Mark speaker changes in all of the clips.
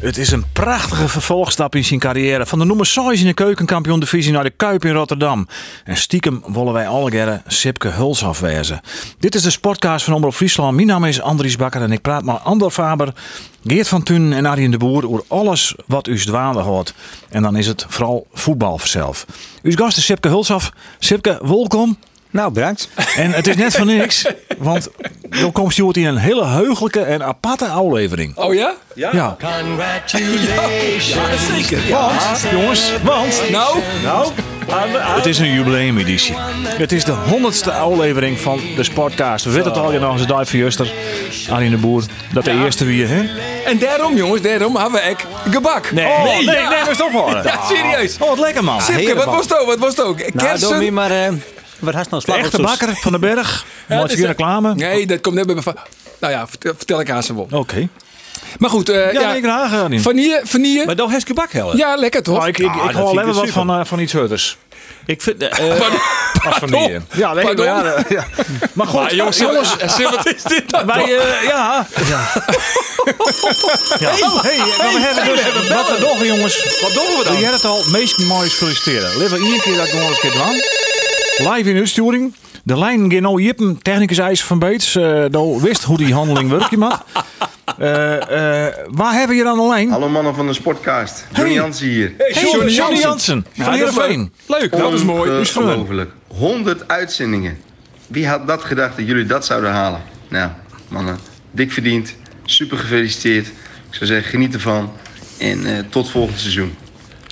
Speaker 1: Het is een prachtige vervolgstap in zijn carrière. Van de nummer 6 in de keukenkampioen-divisie naar de Kuip in Rotterdam. En stiekem willen wij alle gerren Sipke Huls afwijzen. Dit is de Sportkaars van Omroep Friesland. Mijn naam is Andries Bakker en ik praat met Ander Faber, Geert van Thun en Arjen de Boer over alles wat u dwaande houdt. En dan is het vooral voetbal zelf. Uw gast is Sipke Hulsaf. Sipke, welkom.
Speaker 2: Nou, bedankt.
Speaker 1: En het is net van niks, want dan komt Stuart in een hele heugelijke en aparte aflevering.
Speaker 3: Oh ja?
Speaker 1: Ja. Congratulations. zeker. Want, jongens, want.
Speaker 3: Nou?
Speaker 1: Nou. Het is een jubileumeditie. Het is de honderdste aflevering van de Sportcast. We weten het al, je nog eens duif van Juster. Arjen de Boer, dat de eerste wie, hè?
Speaker 3: En daarom, jongens, daarom hebben we ek gebak.
Speaker 1: Oh, nee, nee,
Speaker 3: ja.
Speaker 1: maar stop hoor.
Speaker 3: Ja, serieus.
Speaker 1: Oh, wat lekker man.
Speaker 3: Sipke,
Speaker 2: helemaal.
Speaker 3: wat was het ook? Wat was het ook?
Speaker 2: Nou, doe me
Speaker 3: Kersen?
Speaker 2: maar. eh wat haast nou
Speaker 1: De
Speaker 2: slag
Speaker 1: echte bakker van de berg. Mooi
Speaker 3: dat is
Speaker 1: je
Speaker 3: de-
Speaker 1: reclame.
Speaker 3: Nee, dat komt net bij me van. Nou ja, vertel, vertel ik aan ze wel.
Speaker 1: Oké.
Speaker 3: Maar goed, eh
Speaker 1: Ja,
Speaker 3: ja,
Speaker 1: nee, ik graag Arjen.
Speaker 3: vanille, vanille.
Speaker 2: Maar dan heb je gebak helder.
Speaker 3: Ja, lekker toch?
Speaker 1: Oh, ik ik, ik
Speaker 2: dat
Speaker 1: hoor
Speaker 2: vind ik
Speaker 1: alleen wat
Speaker 2: super.
Speaker 1: van, eh, van iets heuters.
Speaker 2: Ik vind. eh,
Speaker 3: Pardon. Pardon.
Speaker 1: Ja, nee,
Speaker 3: Oh. Pardon?
Speaker 1: maar, ja, ja. maar goed,
Speaker 3: jongens, jongens, eh, Sip, wat is dit dan?
Speaker 1: Wij, eh, ja. ja. Hey, maar we hebben dus wat we doen, jongens. Wat doen we dan? Je hebt het al meest moois feliciteren. Laten we hier keer dat gewoon eens keer doen. Live in de uitsturing. De lijn ging nou jippen. Technicus IJs van Beets. eh nou wist hoe die handeling werkt, iemand. Eh, eh, waar hebben we je aan de lijn?
Speaker 4: Hallo mannen van de Sportcast. Johnny
Speaker 1: Hey.
Speaker 4: Jansen hier.
Speaker 1: Hey, Johnny, Jansen. Van
Speaker 3: Ja, dat is
Speaker 1: Heerenveen. Leuk,
Speaker 4: Ongelooflijk. 100 uitzendingen. Wie had dat gedacht dat jullie dat zouden halen? Nou, mannen, dik verdiend. Super gefeliciteerd. Ik zou zeggen, geniet ervan. En eh, tot volgend seizoen.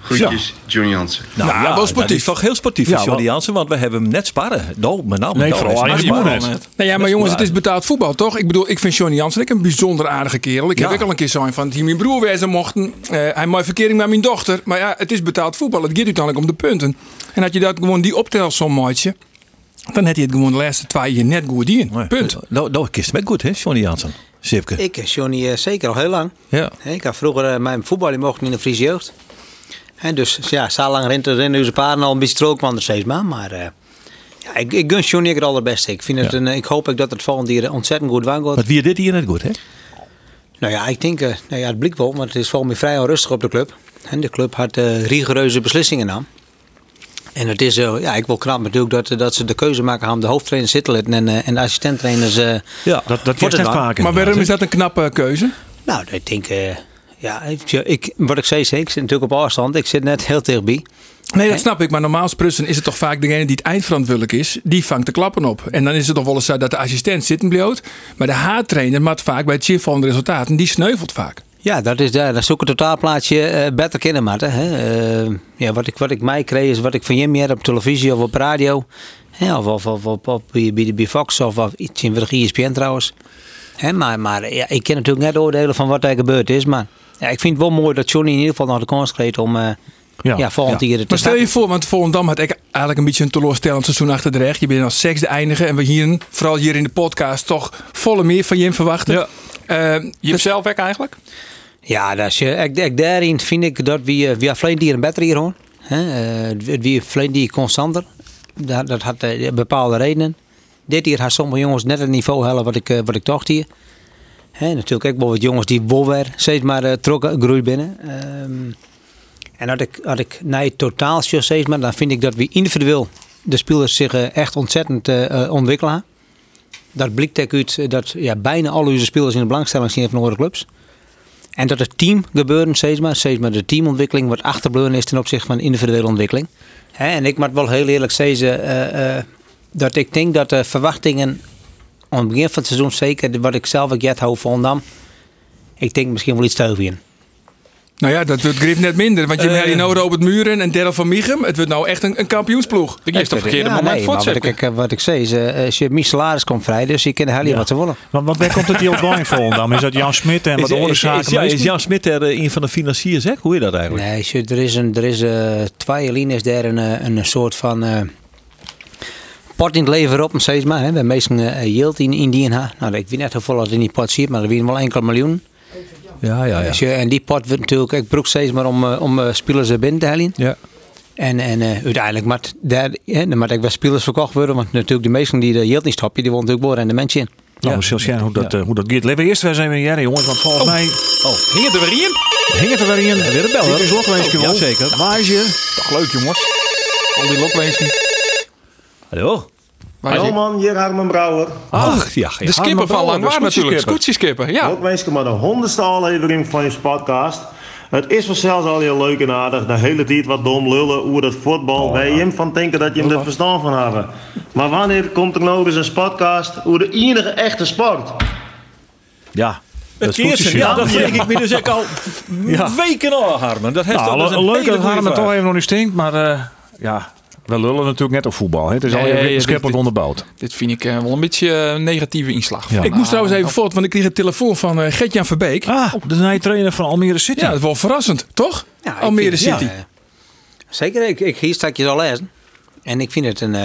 Speaker 4: Groetjes, Johnny Jansen.
Speaker 2: nou,
Speaker 3: ja, wel
Speaker 2: dat
Speaker 3: sportief.
Speaker 2: is toch heel sportief
Speaker 1: Ja,
Speaker 2: van Johnny
Speaker 1: wel.
Speaker 2: Jansen, want we hebben hem net sparren. Nou, maar nou,
Speaker 1: Nee,
Speaker 2: nou,
Speaker 1: vooral
Speaker 2: hij is
Speaker 1: Arjen
Speaker 2: maar
Speaker 1: Boer
Speaker 2: sparren.
Speaker 1: net.
Speaker 3: Nou ja, maar
Speaker 2: Dat
Speaker 3: jongens,
Speaker 2: waar.
Speaker 3: het is betaald voetbal, toch? Ik bedoel, ik vind Johnny Jansen ik een bijzonder aardige kerel. Ik
Speaker 2: Ja.
Speaker 3: heb ook al een keer zo'n van, die mijn broer wezen mochten. Eh, hij maakt verkering met mijn dochter. Maar ja, het is betaald voetbal. Het gaat uiteindelijk om de punten. En had je dat gewoon die optelsom maatje, dan had hij het gewoon de laatste twee jaar net goed in.
Speaker 2: Nee.
Speaker 3: Punt.
Speaker 2: Nou, nou kist hem ook goed, hè, Johnny Jansen. Sipke.
Speaker 5: Ik ken Johnny eh, zeker al heel lang.
Speaker 2: Ja.
Speaker 5: Hè, Ik had vroeger eh, mijn voetballen mocht in de Friese jeugd. En dus ja, zo lang rent er in onze paarden al een beetje strookwander steeds maar. maar eh, ja, ik, ik gun Johnny ook het allerbeste. Ik, vind het
Speaker 2: Ja.
Speaker 5: een, eh, ik hoop ook dat het volgende jaar ontzettend goed waar
Speaker 2: Wat
Speaker 5: gaat.
Speaker 2: wie dit hier net goed, hè?
Speaker 5: Nou ja, ik denk, eh, nou ja, het blikt wel, want het is volgens mij vrij onrustig op de club. En de club had eh, rigoureuze beslissingen aan. En het is, eh, ja, ik wil knap natuurlijk dat, eh, dat ze de keuze maken om de hoofdtrainer Sittelet en, eh, en de assistenttrainers. eh,
Speaker 2: Ja.
Speaker 1: Dat, dat
Speaker 5: Wordt
Speaker 1: is
Speaker 5: het
Speaker 1: net
Speaker 5: waar.
Speaker 1: vaker.
Speaker 3: Maar waarom is dat een knappe keuze?
Speaker 5: Nou, ik denk, eh, ja, ik, wat ik zei, zei, ik zit natuurlijk op afstand. Ik zit net heel dichtbij.
Speaker 3: Nee, dat snap ik. Maar normaal sprussen is het toch vaak degene die het eindverantwoordelijk is. Die vangt de klappen op. En dan is het toch wel eens zo dat de assistent zitten bloot. Maar de haattrainer maakt vaak bij het zien van de resultaten. Die sneuvelt vaak.
Speaker 5: Ja, dat is daar. Dat zoek een totaalplaatje eh, beter kennen, Marten, hè. Eh, ja, wat ik, wat ik mij kreeg is wat ik van Jimmy had op televisie of op radio. Hè, of of, of, of, of bij, bij, bij Fox of, of iets in de E ESPN trouwens. Hè, maar maar ja, ik kan natuurlijk net oordelen van wat er gebeurd is. Maar ja, ik vind het wel mooi dat Johnny in ieder geval nog de kans kreeg om eh
Speaker 1: Ja.
Speaker 5: ja. volgend
Speaker 1: Ja.
Speaker 5: jaar te
Speaker 3: Maar stel
Speaker 5: starten.
Speaker 3: je voor, want Volendam had eigenlijk eigenlijk een beetje een teleurstellend seizoen achter de rug. Je bent als zesde eindigen en we hier, vooral hier in de podcast, toch volle meer van je verwachten.
Speaker 1: Ja.
Speaker 3: Eh, dat-
Speaker 1: zelf weg eigenlijk?
Speaker 5: Ja, dat is, eh, ik, ik daarin vind ik dat we, eh, we alleen die een beter hier hoor. Hè, eh, we- We alleen die constanter. Dat, dat had eh, bepaalde redenen. Dit hier had sommige jongens net het niveau halen wat ik, eh, wat ik dacht hier. Hè, natuurlijk ook wel wat jongens die wel weer steeds maar eh, trokken, groei binnen. Ehm, en had ik, had ik naar het totaal steeds maar, dan vind ik dat we individueel de spelers zich eh, echt ontzettend eh, eh, ontwikkelen. Dat blikt ook uit eh, dat ja, bijna alle onze spelers in de belangstelling zien van andere clubs. En dat het team gebeuren steeds maar, steeds maar de teamontwikkeling wat achterbleven is ten opzichte van individuele ontwikkeling. Hè, en ik moet wel heel eerlijk zeggen eh, eh, dat ik denk dat de verwachtingen aan het begin van het seizoen, zeker wat ik zelf ook jet hou van Dam, ik denk misschien wel iets te hoog in.
Speaker 3: nou ja, dat wordt Griff net minder. Want je hebt hier nou Robert Muren en Daryl van Michem. Het wordt nou echt een, een kampioensploeg.
Speaker 5: Ik is het verkeerde moment nee, maar wat ik, wat ik zei is, eh, eh, je- mijn salaris komt vrij, dus je kan heel wat te willen.
Speaker 1: Want, want waar komt het die ontwikkeling voor dan? Is dat Jan Smit en wat
Speaker 2: is,
Speaker 1: andere
Speaker 2: is, is,
Speaker 1: zaken?
Speaker 2: ja,
Speaker 1: meestal?
Speaker 2: is Jan Smit er eh, een van de financiers, hè? Hoe is dat eigenlijk?
Speaker 5: Nee, als je- er is, een, er is eh twee linies daar een, eh, een soort van eh, pot in het leven op, steeds maar. Hè. We hebben meestal een eh, yield in, in die en haar. Nou, ik weet net hoeveel dat in die pot zit, maar dat winnen wel enkele miljoen.
Speaker 2: Ja, ja, ja.
Speaker 5: Dus, eh, en die pot wordt natuurlijk, ik broek steeds maar om, eh, om eh, spelers er binnen te halen.
Speaker 2: Ja,
Speaker 5: En, en eh, uiteindelijk moet daar, hè, dan moet ik wel spelers verkocht worden, want natuurlijk de meesten die de yield niet stoppen, die willen natuurlijk wel rendementje in.
Speaker 1: Nou, we zullen zien hoe dat, eh, hoe dat gaat. Laten we eerst weer eens even jaren, jongens. Want volgens mij
Speaker 2: Oh, hing het er weer in?
Speaker 1: hing het er weer in.
Speaker 2: weer een bel,
Speaker 1: Dit
Speaker 2: hoor.
Speaker 1: is Lokweesje,
Speaker 2: Oh,
Speaker 1: wel.
Speaker 2: jazeker.
Speaker 1: Waar is je?
Speaker 3: Toch leuk, jongens. Al die lokwezen.
Speaker 2: Hallo?
Speaker 3: Waar is
Speaker 6: Hallo
Speaker 3: die?
Speaker 6: man, hier Harmen Brouwer.
Speaker 2: Ach, ja, ja.
Speaker 3: De skipper
Speaker 2: Harmen
Speaker 3: van Langwaard
Speaker 2: Brouwer, de
Speaker 3: natuurlijk.
Speaker 2: scootjeskipper.
Speaker 3: Scootjeskipper, ja.
Speaker 6: Ook mensen maar de honderdste aflevering van je podcast. Het is wel zelfs al heel leuk en aardig. De hele tijd wat dom lullen over het
Speaker 7: Oh,
Speaker 6: voetbal. Wij hem van denken dat je hem er verstand van hebben. Maar wanneer komt er nog eens een podcast over de enige echte sport?
Speaker 1: Ja.
Speaker 2: Het
Speaker 1: scootje
Speaker 2: eerste,
Speaker 1: zit.
Speaker 2: ja, dat denk ik me dus ook al
Speaker 1: Ja.
Speaker 2: weken al, Harmen. Dat heeft
Speaker 1: Nou,
Speaker 2: al
Speaker 1: le- leuk dat Harmen
Speaker 2: toch
Speaker 1: toch even nog niet stinkt, maar eh, ja, we lullen natuurlijk net op voetbal. Hè. Het is al
Speaker 3: Nee,
Speaker 1: even
Speaker 3: dit- dit-
Speaker 1: wetenschappelijk
Speaker 3: dit-
Speaker 1: onderbouwd.
Speaker 3: Dit vind ik eh, wel een beetje eh, negatieve inslag.
Speaker 1: Ja.
Speaker 3: Ik moest trouwens even voort, want ik kreeg een telefoon van eh, Gert-Jan Verbeek.
Speaker 1: Ah, de nieuwe trainer van Almere City.
Speaker 3: Ja, dat is wel verrassend, toch?
Speaker 5: Ja, ik
Speaker 3: Almere
Speaker 5: vind het,
Speaker 3: City.
Speaker 5: eh, zeker, ik, ik, hier sta ik je al lezen. En ik vind het een, eh,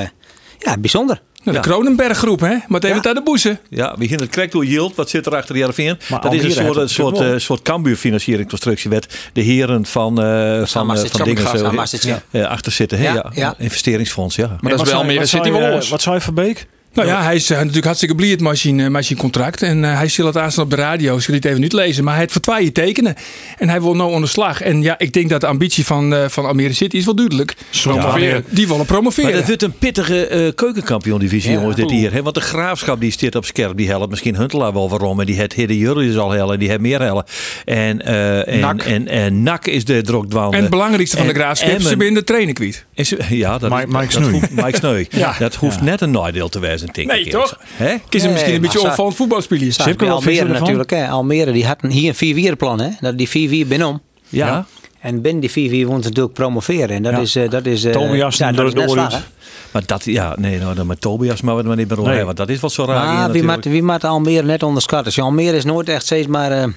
Speaker 5: ja, bijzonder.
Speaker 3: Nou, de Kronenberggroep, hè? Meteen met aan de boezen.
Speaker 2: Ja, we het krijgt door Yield. Wat zit er achter de RVN?
Speaker 1: Maar
Speaker 2: dat is
Speaker 1: Almere
Speaker 2: een soort,
Speaker 1: heeft
Speaker 2: een
Speaker 1: het
Speaker 2: soort,
Speaker 1: natuurlijk
Speaker 2: eh, soort Cambuur-financiering-constructiewet. De heren van, eh van, eh,
Speaker 5: Samastic,
Speaker 2: van dingen
Speaker 5: Samastic,
Speaker 2: zo,
Speaker 5: Samastic, ja.
Speaker 2: eh, achter zitten. hè?
Speaker 5: Ja,
Speaker 2: ja.
Speaker 5: ja.
Speaker 2: Investeringsfonds, ja.
Speaker 3: Maar
Speaker 1: En
Speaker 3: dat
Speaker 1: wat
Speaker 3: is
Speaker 1: zei-
Speaker 3: wel Almere
Speaker 1: wat
Speaker 3: City
Speaker 1: zei,
Speaker 3: wel
Speaker 1: eh,
Speaker 3: los.
Speaker 1: Wat zei Van Beek?
Speaker 3: Nou ja, hij is eh, natuurlijk hartstikke blij met zijn, eh, met zijn contract. En eh, hij zit het aanstaan op de radio. Ik zal het even niet lezen. Maar hij heeft voor twee jaar tekenen. En hij wil nou onderslag. En ja, ik denk dat de ambitie van, eh, van Almere City is wel duidelijk.
Speaker 1: Almere.
Speaker 3: Die willen promoveren.
Speaker 2: Maar dat wordt een pittige eh keukenkampioen-divisie,
Speaker 5: Ja.
Speaker 2: jongens, dit hier. Hè? Want de Graafschap die zit op scherp, die helpt misschien Huntelaar wel waarom. En die het Hidde Jurrius al hellen, en die het meer hellen. En, eh en,
Speaker 3: Nak.
Speaker 2: en, en NAC is de drokdwaande.
Speaker 3: en het belangrijkste van de
Speaker 2: En
Speaker 3: graafschap, ze
Speaker 2: Emmen.
Speaker 3: binnen de trainer kwijt.
Speaker 2: En ze- Ja, dat
Speaker 1: Mike-
Speaker 2: is,
Speaker 1: Mike
Speaker 2: dat
Speaker 1: Sneu.
Speaker 2: hoeft- Mike Sneu.
Speaker 3: Ja.
Speaker 2: Dat hoeft net een nadeel te wezen, denk
Speaker 3: Nee,
Speaker 2: ik.
Speaker 3: toch?
Speaker 2: Hè?
Speaker 3: Is het
Speaker 5: Nee,
Speaker 3: misschien een
Speaker 5: maar
Speaker 3: beetje
Speaker 5: zou-
Speaker 3: opvallend voetbalspielers?
Speaker 5: Zou ik
Speaker 1: Sipke,
Speaker 5: bij
Speaker 1: wat vind je
Speaker 5: Almere
Speaker 1: ervan?
Speaker 5: natuurlijk. Hè. Almere die had een- hier een 4-4 plan. Hè. Dat die 4-4 binnen
Speaker 2: Ja.
Speaker 5: En binnen die 4-4 moeten ze natuurlijk promoveren. En dat
Speaker 1: Ja.
Speaker 5: is... eh, dat is eh,
Speaker 1: Tomias
Speaker 5: ja,
Speaker 1: en
Speaker 5: dat is net
Speaker 1: Dorius.
Speaker 5: slagen.
Speaker 2: Maar dat, ja, nee, nou, dan met Tobias maar wat maar niet meer
Speaker 1: Nee.
Speaker 2: nee. Want dat is wat zo raar. hier
Speaker 5: Maar wie
Speaker 2: natuurlijk.
Speaker 5: maakt, wie maakt Almere net onderschatten? Dus Almere is nooit echt steeds maar... eh,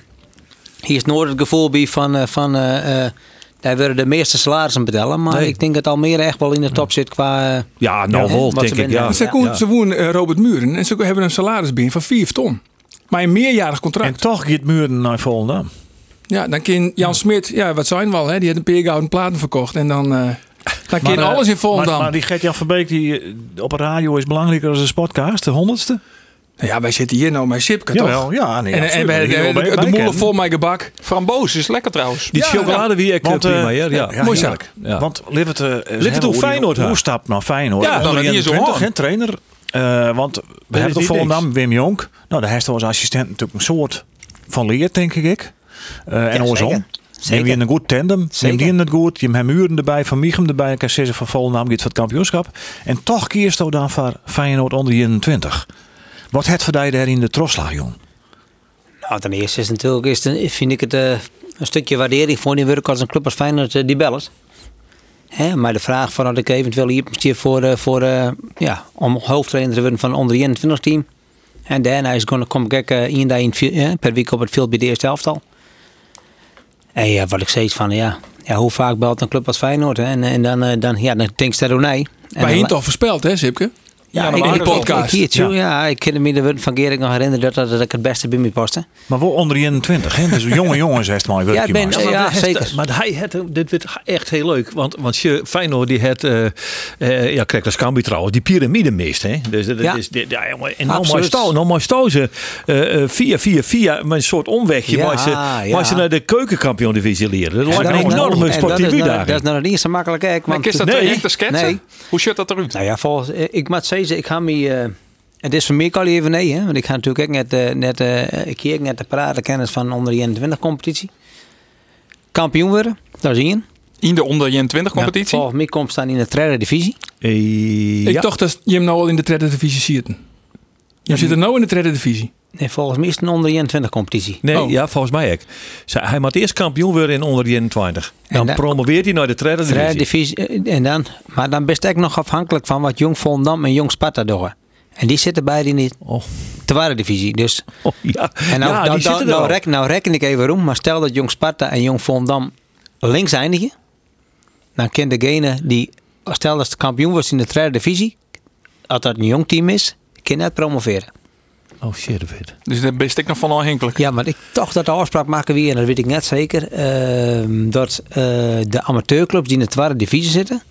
Speaker 5: hier is nooit het gevoel bij van... eh, van eh, eh, daar werden de meeste salarissen betalen. Maar
Speaker 2: Nee.
Speaker 5: ik denk dat Almere echt wel in de top zit qua... eh,
Speaker 2: Ja, nou
Speaker 5: Ja,
Speaker 2: wel,
Speaker 5: wat
Speaker 2: denk
Speaker 5: ze
Speaker 2: ik.
Speaker 5: binnen-
Speaker 2: Ja.
Speaker 5: Maar
Speaker 3: Ze, koen- ze wonen eh, Robert Muren en ze hebben een salaris binnen van 4 ton. Maar een meerjarig
Speaker 1: En
Speaker 3: contract.
Speaker 1: toch gaat Muren naar Volendam.
Speaker 3: Ja, dan kan Jan Smit, ja, wat zijn we al, hè? die had een peer gouden platen verkocht. En dan, eh dan kan
Speaker 1: eh,
Speaker 3: alles in Volendam.
Speaker 1: Maar, maar die Gert-Jan Van Beek die, eh, op een radio is belangrijker dan een podcast, de honderdste.
Speaker 3: Ja, wij zitten hier nou met Sipke,
Speaker 1: Jawel,
Speaker 3: toch?
Speaker 1: ja, nee,
Speaker 3: en en
Speaker 1: absoluut.
Speaker 3: bij,
Speaker 1: Die wil
Speaker 3: de,
Speaker 1: bij-
Speaker 3: de,
Speaker 1: bij
Speaker 3: de moelen
Speaker 1: kennen.
Speaker 3: vol mijn gebak.
Speaker 8: Framboos is lekker trouwens.
Speaker 2: Die
Speaker 3: Ja,
Speaker 2: chocolade wie ik
Speaker 1: Want, eh,
Speaker 2: prima, ja. ja.
Speaker 3: Mooi
Speaker 1: heerlijk.
Speaker 3: zaak.
Speaker 2: Ja.
Speaker 1: Want eh, Livet
Speaker 2: het hoe Feyenoord haar?
Speaker 1: Hoe stapt naar Feyenoord?
Speaker 3: Ja, dan
Speaker 1: Onder
Speaker 3: had hij eens
Speaker 1: 21,
Speaker 3: omhoog.
Speaker 1: hè, trainer. Eh, want we
Speaker 2: is
Speaker 1: hebben op
Speaker 2: hij
Speaker 1: Volendam Wim Jonk. Nou, daar heeft hij als assistent natuurlijk een soort van leer, denk ik. Eh, en
Speaker 5: Ja,
Speaker 1: andersom.
Speaker 5: zeker.
Speaker 1: Neem
Speaker 5: Zeker.
Speaker 1: je een goed tandem, neem
Speaker 5: Zeker.
Speaker 1: die in het goed, je hebt hem Muren erbij, Van Michem erbij, Cassese van Volendam, gaat voor het kampioenschap. En toch kiest hij dan voor Feyenoord onder 21. Wat het voor die daar in de trosla, jong?
Speaker 5: Nou, ten eerste is natuurlijk, is het, vind ik het eh, een stukje waardering voor die werk als een club als Feyenoord eh, die belt. Hè, maar de vraag van had ik eventueel hier misschien voor, eh, voor eh, ja, om hoofdtrainer te worden van een onder 21 team. En daarna is gewoon, kom ik ook, eh, één dag in het vi- eh, per week op het veld bij de eerste helftal. En ja, wat ik steeds van, ja, ja hoe vaak belt een club als Feyenoord? Hè? En, en dan, eh, dan, ja, dan denk ik dat ook nee. En
Speaker 3: Bij
Speaker 5: dan-
Speaker 3: Hint al voorspeld, hè, Sipke?
Speaker 5: Ja,
Speaker 3: maar
Speaker 5: ik,
Speaker 3: in
Speaker 5: ik,
Speaker 3: de
Speaker 5: ik, ik,
Speaker 3: podcast.
Speaker 5: hier, tjoe, ja. ik kan me de van Gerik nog herinneren dat, dat ik het beste bij me paste.
Speaker 1: Maar wel onder 21, hè? Dus jonge jongens heeft mooi werk
Speaker 5: Ja, ik ben-
Speaker 1: gemaakt.
Speaker 5: Ja,
Speaker 2: maar hij
Speaker 5: zeker.
Speaker 2: heeft- eh, maar hij had, dit werd echt heel leuk. Want, want je, Feyenoord die had, eh eh ja, kijk, dat Scambi trouwens, die piramide mist. Hè? Dus dat
Speaker 5: Ja.
Speaker 2: is, dit, ja, jongen, en nou maar
Speaker 5: Absoluut.
Speaker 2: stouw, nou maar stouw ze eh, eh, via, via, via, maar een soort omwegje.
Speaker 5: Ja,
Speaker 2: waar ze,
Speaker 5: ja.
Speaker 2: waar ze naar de keukenkampioen divisie leren. Dat lijkt
Speaker 5: En
Speaker 2: me een
Speaker 5: dat is nou-
Speaker 2: enorme
Speaker 5: en dat
Speaker 2: sportieve
Speaker 5: is nou- Dat
Speaker 2: uitdaging.
Speaker 5: is nou niet zo makkelijk, hè?
Speaker 8: Maar
Speaker 5: Want-
Speaker 8: is dat
Speaker 2: nee.
Speaker 8: traject te schetsen?
Speaker 5: Nee.
Speaker 8: Hoe ziet dat eruit?
Speaker 5: Nou ja, volgens, eh, ik moet zeggen, ik ga me... eh, het is voor mij al even nee, hè? want ik ga natuurlijk ook net, eh, net, eh, ik keer net de praten kennis van onder 21 competitie. Kampioen worden, daar zie je.
Speaker 8: In de onder 21
Speaker 5: Nou,
Speaker 8: competitie?
Speaker 5: Volgens mij komt staan in de derde divisie.
Speaker 2: Eh,
Speaker 3: Ik
Speaker 2: ja.
Speaker 3: dacht dat je hem nou al in de derde divisie ziet. Je zit er nou in de derde divisie.
Speaker 5: Nee, volgens mij is het een onder 21 competitie.
Speaker 2: Nee,
Speaker 3: Oh.
Speaker 2: ja, volgens mij ook. Ze- Hij moet eerst kampioen worden in onder 21.
Speaker 5: En
Speaker 2: Dan
Speaker 5: dan-
Speaker 2: promoveert hij naar de derde
Speaker 5: Derde
Speaker 2: divisie.
Speaker 5: divisie. eh, En dan, maar dan ben je ook nog afhankelijk van wat Jong Volendam en Jong Sparta doen. En die zitten beide in de
Speaker 2: Oh,
Speaker 5: tweede divisie. Dus
Speaker 2: oh, ja.
Speaker 5: En nou,
Speaker 2: ja,
Speaker 5: nou,
Speaker 2: die
Speaker 5: nou,
Speaker 2: zitten er
Speaker 5: nou
Speaker 2: al.
Speaker 5: rek- nou reken ik even om, maar stel dat Jong Sparta en Jong Volendam links eindigen. Dan kan degene die, stel dat ze kampioen was in de derde divisie, als dat een jong team is, kan je net promoveren.
Speaker 2: Oh shit, dat weet
Speaker 8: Dus daar ben ik nog van afhankelijk.
Speaker 5: Ja, maar ik toch dat de afspraak maken weer, en dat weet ik net zeker, ehm, dat eh, de amateurclubs die in de tweede divisie zitten,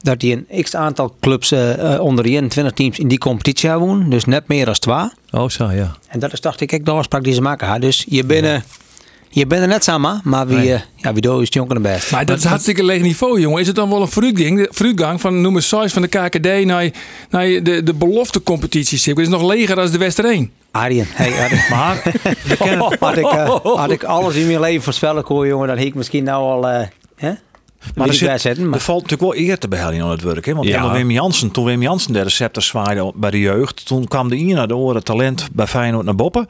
Speaker 5: dat die een x aantal clubs eh, eh, onder de 21 teams in die competitie hebben, wonen, dus net meer dan twee.
Speaker 2: Oh zo, ja.
Speaker 5: En dat is dacht ik, kijk, de afspraak die ze maken. hè. Dus je bent, eh, je bent er net samen, maar wie, eh, ja, wie dood is, die jongen de best.
Speaker 3: Maar dat is hartstikke leeg niveau, jongen. Is het dan wel een vooruitgang, de vooruitgang van noem eens size van de KKD naar, naar de, de beloftecompetitie? Sipke? Het is nog leger dan de Westereen.
Speaker 5: Arjen, hey, Arjen.
Speaker 1: Maar
Speaker 5: had, ik, eh, had ik alles in mijn leven voorspellen kon, jongen, dan had ik misschien nou al... eh hè?
Speaker 1: Maar
Speaker 5: Maar
Speaker 1: er,
Speaker 5: ik
Speaker 1: zit,
Speaker 5: bij zetten,
Speaker 1: er
Speaker 5: maar
Speaker 1: valt natuurlijk wel eer te behalen aan het werk. Hè? Want
Speaker 2: Ja.
Speaker 1: onder Wim Jansen, toen Wim Jansen de receptor zwaaide bij de jeugd, toen kwam de hier naar de oren talent bij Feyenoord naar Boppen.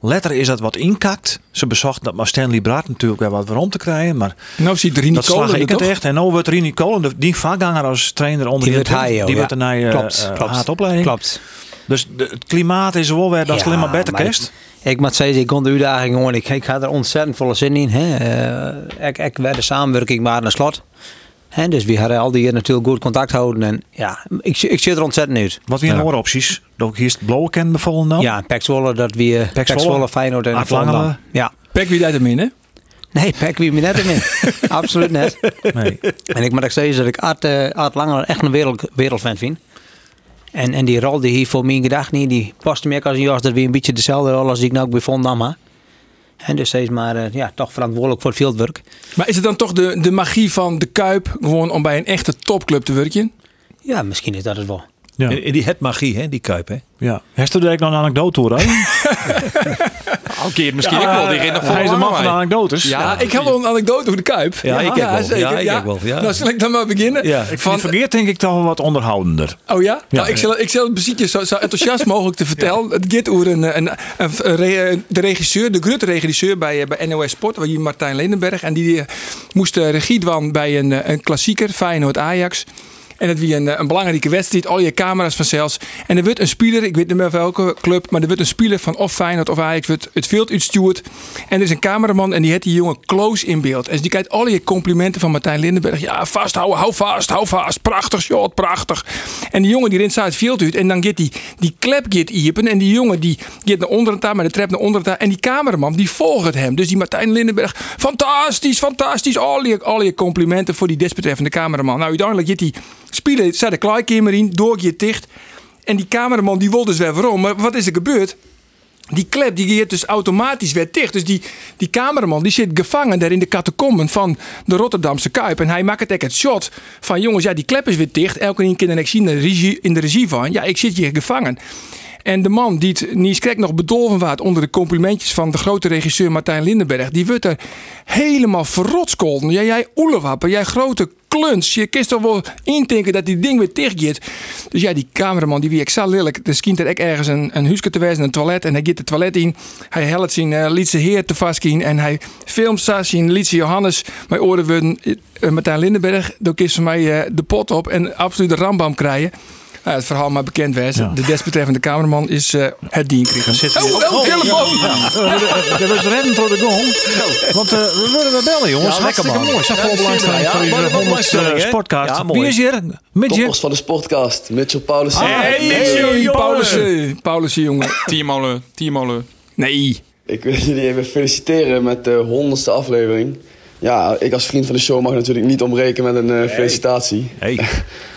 Speaker 1: Letter is dat wat inkakt. Ze bezocht dat maar Stanley Braat natuurlijk weer wat weer om te krijgen. Maar
Speaker 3: Nou ziet Rini
Speaker 1: dat slag
Speaker 3: Kolen
Speaker 1: ik
Speaker 3: er
Speaker 1: het
Speaker 3: toch?
Speaker 1: echt. En nu wordt Rini Kolen, de- die vakganger als trainer onder
Speaker 5: die
Speaker 1: de
Speaker 5: wordt
Speaker 1: 21,
Speaker 5: hij, oh
Speaker 1: die
Speaker 5: ja.
Speaker 1: wordt ernaar eh, eh, haat opleiding.
Speaker 5: Klopt.
Speaker 1: Dus de- het klimaat is er wel weer dat is
Speaker 5: Ja,
Speaker 1: alleen maar beter
Speaker 5: maar
Speaker 1: kerst.
Speaker 5: Ik, ik moet zeggen, ik kon de uitdaging gewoon. Ik, ik had er ontzettend veel zin in. Hè. Eh, ik, ik werd de samenwerking maar naar slot. Hè, dus we hadden al die hier natuurlijk goed contact houden. En ja, ik, ik zit er ontzettend uit.
Speaker 1: Wat weer een hoor opties. Dat ik hier het blauwe ken bevallen nou.
Speaker 5: Ja, Pek Zwolle, dat we eh,
Speaker 1: Pek
Speaker 5: Pek
Speaker 1: Zwolle,
Speaker 5: Zwolle, Feyenoord en
Speaker 1: Aad
Speaker 5: Volendam.
Speaker 1: Langelen.
Speaker 5: Ja.
Speaker 3: Pek wie deed hem in, hè?
Speaker 5: Nee, Pek wie me net in. Absoluut net.
Speaker 1: Nee.
Speaker 5: En ik moet ook zeggen dat ik Art, eh Art Langer echt een wereld, wereldfan vind. En, en die rol die hij voor mijn gedachten in, die past meer als een jas. Dat weer een beetje dezelfde rol als die ik nou ook bij Vondam had. En dus hij is maar eh, ja, toch verantwoordelijk voor het fieldwork.
Speaker 3: Maar is het dan toch de, de magie van de Kuip gewoon om bij een echte topclub te werken?
Speaker 5: Ja, misschien is dat het wel.
Speaker 1: Ja.
Speaker 2: En, en die het magie, hè, die Kuip, hè?
Speaker 1: Ja. Hester deed ik nog een anekdote hoor. hè?
Speaker 8: Oké, misschien ik wel. Die rent nog
Speaker 1: eh, Hij is de man van de
Speaker 8: mij.
Speaker 1: anekdotes.
Speaker 8: Ja,
Speaker 3: ik heb wel een anekdote over de Kuip.
Speaker 2: Ja, ik heb wel. Ja, ik heb wel, ja.
Speaker 3: Nou, zal ik dan maar beginnen?
Speaker 2: Ja, ik
Speaker 1: Ik vind
Speaker 3: Van-
Speaker 1: verkeerd denk ik toch wel wat onderhoudender.
Speaker 3: Oh ja? nou,
Speaker 1: ja.
Speaker 3: ik zal, ik zal het precies zo, zo enthousiast mogelijk te vertellen. Het gaat over een, een, een- een re- de regisseur, de grote regisseur bij, eh, bij NOS Sport, waar hier Martijn Lenenberg. En die eh, moest eh, regie doen bij een, eh, een klassieker, Feyenoord-Ajax. En het wie een, eh, een belangrijke wedstrijd, al je camera's vanzelfs. En er wordt een speler, ik weet niet meer welke club, maar er wordt een speler van of Feyenoord of Ajax wordt het veld uitstuurd. En er is een cameraman en die heeft die jongen close in beeld. En dus die kijkt al je complimenten van Martijn Lindenberg. Ja, vasthouden, hou vast, hou vast. Prachtig, shot, prachtig. En die jongen die rent zo het veld uit en dan gaat die, die klep gaat iepen. En die jongen die gaat naar onderen daar, maar de trap naar onderen daar. En die cameraman die volgt hem. Dus die Martijn Lindenberg, fantastisch, fantastisch. Al je, al je complimenten voor die desbetreffende cameraman. Nou, uiteindelijk gaat die spelen, zei de klaarkamer in, door je dicht. En die cameraman die wil dus weer waarom. Maar wat is er gebeurd? die klep die gaat dus automatisch weer dicht. Dus die, die cameraman die zit gevangen daar in de catacomben van de Rotterdamse Kuip. En hij maakt het echt het shot van jongens, ja die klep is weer dicht. Elke keer kan ik zien in de regie, in de regie van, ja ik zit hier gevangen. En de man die het niet krek nog bedolven waard onder de complimentjes van de grote regisseur Martijn Lindenberg. Die wordt er helemaal verrotskolden. Ja, jij oelewapper, jij grote kluns. Je kist toch wel intinken dat die ding weer dichtgeet. Dus ja, die cameraman, die wie ik zal lelijk. Er schijnt er ook ergens een, een huisje te wezen, een toilet. En hij gaat het toilet in. Hij helpt zijn eh lietse heer te vastgien. En hij filmt zo zijn lietse Johannes. Mijn oren worden eh, Martijn Lindenberg. Dan kist van mij eh, de pot op en absoluut de rambam krijgen. Nou, het verhaal maar bekend wezen. De desbetreffende cameraman is eh, het dien
Speaker 1: Zit
Speaker 3: Oh,
Speaker 1: hier-
Speaker 3: oh, telefoon!
Speaker 1: Dat was redden voor de gong. Want eh, we willen wel bellen jongens.
Speaker 2: Ja, lekker,
Speaker 1: Hartstikke
Speaker 2: man.
Speaker 1: mooi. Zo
Speaker 2: Ja,
Speaker 1: vol belangstelling
Speaker 2: ja,
Speaker 1: voor
Speaker 2: wat
Speaker 1: die
Speaker 2: een belangstelling, hè?
Speaker 1: honderdste
Speaker 2: Ja,
Speaker 1: podcast.
Speaker 2: mooi.
Speaker 1: Wie is hier? Midje.
Speaker 7: Koppels van de sportcast, Mitchell Paulussen.
Speaker 6: Ah.
Speaker 3: Hey, Paulussen. Paulussen, jongen.
Speaker 8: Tiermolen, tiermolen.
Speaker 3: Nee.
Speaker 7: Ik wil jullie even feliciteren met de honderdste aflevering. Ja, ik als vriend van de show mag natuurlijk niet ontbreken met een eh, felicitatie.
Speaker 2: Hey.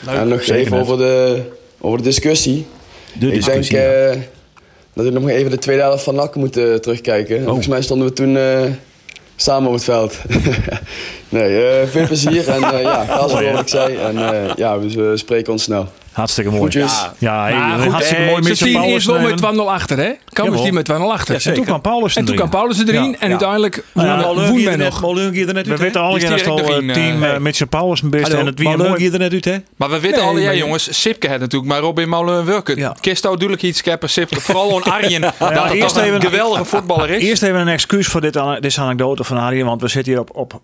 Speaker 7: en nog
Speaker 1: Zeker
Speaker 7: even
Speaker 1: net.
Speaker 7: over de, over de discussie.
Speaker 2: De discussie.
Speaker 7: ik denk eh, dat we nog maar even de tweede helft van NAC moeten eh, terugkijken. Volgens mij stonden we toen eh, samen op het veld. nee, eh, veel plezier en eh, ja, ga zoals wat ik zei. En eh, ja, we, we spreken ons snel.
Speaker 1: Hartstikke mooi.
Speaker 7: Groetjes.
Speaker 1: Ja, hey,
Speaker 3: Maar goed,
Speaker 1: hartstikke
Speaker 3: eh,
Speaker 1: mooi.
Speaker 3: Ze
Speaker 1: Mitchell eh,
Speaker 3: zien eerst wel
Speaker 1: Pauwers.
Speaker 3: met 2-0 achter, hè? Kamers
Speaker 2: Jawel.
Speaker 3: die met 2-0 achter.
Speaker 1: En toen kwam Paulus
Speaker 3: en toen kwam Paulussen erin.
Speaker 1: Ja.
Speaker 3: En uiteindelijk
Speaker 1: Ja,
Speaker 3: woen- woen men nog.
Speaker 2: Moleun hier er net
Speaker 1: We
Speaker 2: uit, hè?
Speaker 1: weten al
Speaker 8: Die is
Speaker 1: dat
Speaker 8: direct
Speaker 1: al
Speaker 8: nog in,
Speaker 1: eh, team
Speaker 8: eh,
Speaker 1: eh, Mitchell Pauwers een beste. En het wie een
Speaker 2: Moleun
Speaker 1: mooi.
Speaker 2: hier er net uit, hè?
Speaker 8: Maar we weten
Speaker 3: Nee,
Speaker 8: al, ja,
Speaker 3: maar-
Speaker 8: jongens, Sipke had natuurlijk, maar Robin Molen werken.
Speaker 1: Ja.
Speaker 8: Ja. Kisto duidelijk iets scheppen, Sipke. Vooral aan Arjen, dat het
Speaker 1: Nou, eerst
Speaker 8: toch
Speaker 1: even-
Speaker 8: een geweldige voetballer is.
Speaker 1: Eerst even een excuus voor dit, ane- deze anekdote van Arjen, want we zitten hier op, op,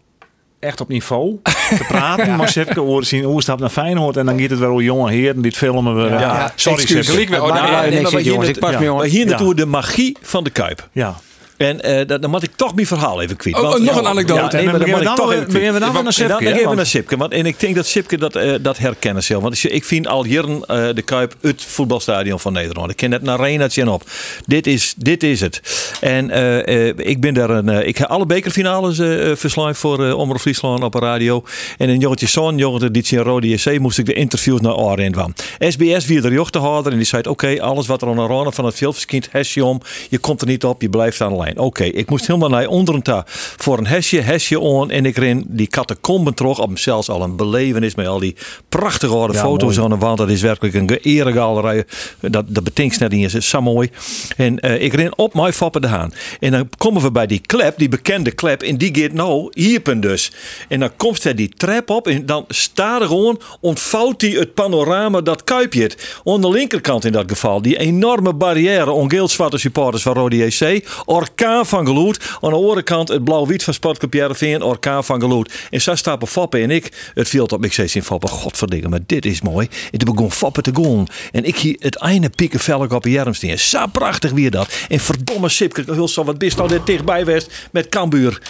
Speaker 1: echt op niveau te praten. Maar Sipke hoort zien oerstap naar Feyenoord en dan gaat het wel jonge heren die het filmen. We, ja. Sorry
Speaker 8: Excuus.
Speaker 1: Sipke.
Speaker 8: Gelijk weer. Oh,
Speaker 5: Maar-
Speaker 8: daar-
Speaker 5: maar-
Speaker 2: nee,
Speaker 5: niks
Speaker 2: maar
Speaker 5: in,
Speaker 2: hier
Speaker 5: jongens.
Speaker 2: net-
Speaker 5: Ik pas
Speaker 1: ja.
Speaker 5: me,
Speaker 2: Maar
Speaker 5: jongen.
Speaker 2: hier
Speaker 1: Ja.
Speaker 2: naartoe de magie van de Kuip.
Speaker 1: Ja.
Speaker 2: En eh, dat- dan moet ik toch mijn verhaal even kwijt.
Speaker 3: Oh, oh, nog een anekdote.
Speaker 2: Ja, nee, maar dan
Speaker 1: Beginnen
Speaker 2: moet
Speaker 1: we
Speaker 2: ik
Speaker 1: dan
Speaker 2: toch
Speaker 1: weer-
Speaker 2: even kwijt.
Speaker 1: beginnen we dan weer naar
Speaker 2: En dan-
Speaker 1: Sipke,
Speaker 2: Dan
Speaker 1: hè,
Speaker 2: even
Speaker 1: want-
Speaker 2: naar Sipke. Want en ik denk dat Sipke dat, eh, dat herkennen zelf. Want ik vind al jaren eh, de Kuip het voetbalstadion van Nederland. Ik ken net naar Renaatje en op. Dit is, dit is het. En eh, eh, ik ben daar een... eh, ik heb alle bekerfinales eh eh, verslagen voor eh Omroep Friesland op de radio. En een jongetje zoon, jongetje die in Rode JC, moest ik de interviews naar Oranje kwam. SBS wie de jochtenhouder en die zei oké, alles wat er aan Oranje van het veld verschijnt, hesje om. Je komt er niet op, je blijft aan de lijn. Oké, ik moest helemaal naar onderen daar voor een hesje, hesje on. En ik ren die catacomben terug. Op zelfs al een belevenis met al die prachtige oude foto's aan de wand. Dat is werkelijk een ge- eregalerij. Dat, dat betinkt net niet eens. Zo mooi. En eh, ik ren op mijn fappen de haan. En dan komen we bij die klep, die bekende klep. En die gaat nou hierpen dus. En dan komt er die trap op. En dan staat er gewoon, ontvouwt hij het panorama dat Kuipje het. Aan de linkerkant in dat geval. Die enorme barrière om geeldzwarte supporters van Rode JC. Orkaan van geloed. Aan de andere kant het blauw-wit van Sportclub Jereveen. Orkaan van geloed. En zo stappen Fappen en ik. Het viel op. Ik zei in Fappen. Godverdikke, maar dit is mooi. En toen begon Fappen te gaan. En ik hier het einde pieken vel ik op de Jermsteen. Zo prachtig weer dat. En verdomme Sipke. Hulsel, wat bist nou dit dichtbij West met Cambuur.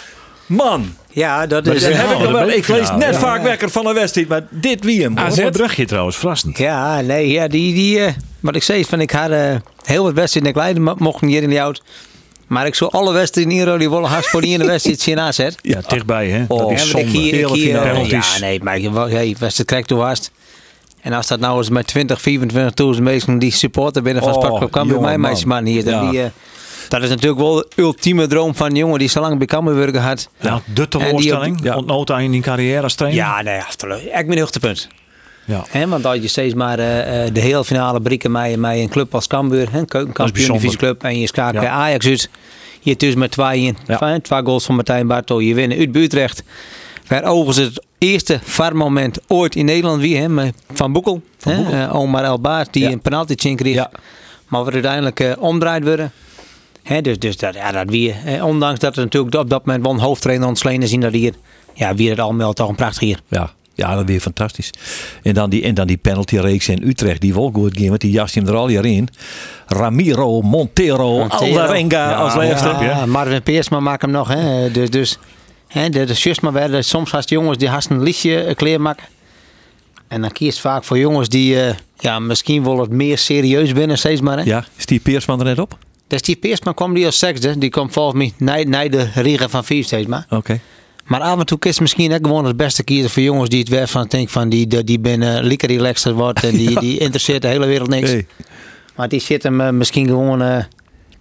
Speaker 2: Man,
Speaker 5: Ja, dat
Speaker 2: dat
Speaker 5: is...
Speaker 2: heb ik nog wel.
Speaker 5: ja,
Speaker 2: Ik lees net vaak wekker van een wedstrijd, maar dit wie hem. hoor.
Speaker 1: AZ? Een brugje trouwens, verrassend.
Speaker 5: ja, nee, ja, die, die, eh, wat ik zei is van ik had eh, heel wat wedstrijden in de kleine, mo- mocht niet hier in de oud. Maar ik zou alle wedstrijden in Rode Wolle hard voor die ene wedstrijd zien aanzet.
Speaker 1: Ja, dichtbij hè.
Speaker 2: Oh,
Speaker 1: Dat is
Speaker 5: Ja, maar ik
Speaker 1: zonde.
Speaker 5: hier- ik
Speaker 2: Hele
Speaker 5: hier, eh,
Speaker 1: penalties.
Speaker 5: ja, nee, maar je wa- hey, was het krijg toe haast. En als dat nou eens met 20, 25.000 mensen die supporter binnen van
Speaker 2: Oh,
Speaker 5: Sparta kan bij
Speaker 2: jongen,
Speaker 5: mij
Speaker 2: man.
Speaker 5: meisjesman hier. dan
Speaker 2: Ja.
Speaker 5: Die, eh, dat is natuurlijk wel de ultieme droom van een jongen die zo lang bij Cambuur had.
Speaker 1: Ja, de
Speaker 5: En die
Speaker 1: teleurstelling.
Speaker 5: op-
Speaker 1: Ja.
Speaker 5: ja.
Speaker 1: Ontnoot aan in carrière als trainer.
Speaker 5: Ja, nee, echt Ik ben hoogtepunt.
Speaker 1: Ja.
Speaker 5: Hè, want als je steeds maar eh, eh, de hele finale brieken met, met een club als Cambuur, hè, keukenkampioen,
Speaker 1: bijzonder.
Speaker 5: divisieclub en je schakelt
Speaker 1: Ja.
Speaker 5: bij Ajax uit. Je tussen met twee, in,
Speaker 1: Ja.
Speaker 5: twee, twee goals van Martijn Bartel, je winnen uit Buurtrecht. Waar overigens het eerste VAR-moment ooit in Nederland wie, hè, met Van Boekel, hè, eh, Omar El Baas, die
Speaker 2: Ja.
Speaker 5: een penalty chin kreeg.
Speaker 2: Ja.
Speaker 5: Maar wat uiteindelijk eh, omdraaid werden. Hè, dus dus dat, ja, dat wie, eh, ondanks dat er natuurlijk op dat moment wel een hoofdtrainer ontsleen is, zien dat hier, ja, wie het allemaal toch een prachtig hier.
Speaker 2: Ja. Ja, dat weer fantastisch. En dan die, en dan die penaltyreeks in Utrecht, die wel goed ging, want die jas hem er al jaar in. Ramiro, Montero,
Speaker 5: Montero.
Speaker 2: Alvarenga als laatste.
Speaker 5: Ja, Marvin Peersma maakt hem nog. Hè. Dus, dus hè, de, de zus maar werden. Soms had jongens die haast een liedje eh, kleermaken. En dan kiest vaak voor jongens die eh, ja, misschien wel het meer serieus binnen steeds maar. Hè.
Speaker 2: Ja, is die Peersman er net op?
Speaker 5: Dus die Peersma kwam die als zesde. Die kwam volgens mij na, na de Riga van vier steeds maar.
Speaker 2: Oké.
Speaker 5: Maar af en toe kiest misschien ook gewoon het beste kiezen voor jongens die het werk van denk van die, die, die binnen lekker relaxed wordt. En die, die interesseert de hele wereld niks.
Speaker 2: Hey.
Speaker 5: Maar die zit hem eh, misschien gewoon, eh,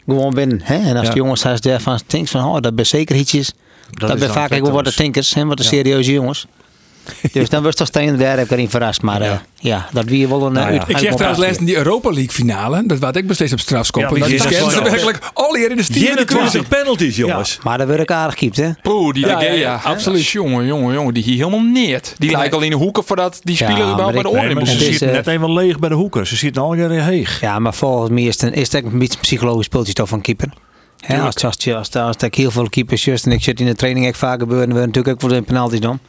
Speaker 5: gewoon binnen. Hè? En als
Speaker 2: Ja.
Speaker 5: de jongens daar daarvan denkt van, oh, dat ben zeker ietsjes. Dat,
Speaker 1: is
Speaker 5: ben
Speaker 1: dan
Speaker 5: vaak ook wel wat de
Speaker 1: Tecto's.
Speaker 5: tinkers, hè, wat de serieuze jongens. dus dan was toch Steen daar heb ik erin verrast. Maar eh, ja. dat wie wel een eh, uit-
Speaker 3: Ik zeg
Speaker 5: uitkomst.
Speaker 3: trouwens les in die Europa League finale. Dat waar ik besteed op strafskop.
Speaker 1: Ja,
Speaker 3: en dat
Speaker 1: precies.
Speaker 3: kennen ze
Speaker 1: Ja.
Speaker 3: werkelijk al hier in de stier. in de kruising.
Speaker 2: 24 penalties, jongens.
Speaker 5: Maar dat werd ik aardig kiept, hè?
Speaker 9: Poeh, die
Speaker 3: Ja,
Speaker 9: De Gea,
Speaker 3: ja, ja,
Speaker 9: absoluut. Jongen, jongen, jongen, die hier helemaal neert. Die lijkt al in de hoeken voordat die speler
Speaker 5: maar
Speaker 9: überhaupt bij de
Speaker 5: ik-
Speaker 9: oren
Speaker 1: Nee,
Speaker 9: in
Speaker 1: maar
Speaker 9: moest
Speaker 1: ze
Speaker 5: Het is,
Speaker 9: zitten.
Speaker 1: zitten
Speaker 5: eh,
Speaker 1: net eenmaal leeg bij de hoeken. Ze zitten al jaren heeg.
Speaker 5: Ja, maar volgens mij is het, een- is het ook een beetje een psychologisch speeltje toch van keeper. Hè, als, als, als, als ik heel veel keepers just en ik zit in de training ook vaak gebeuren, we natuurlijk ook voor de penalties dan.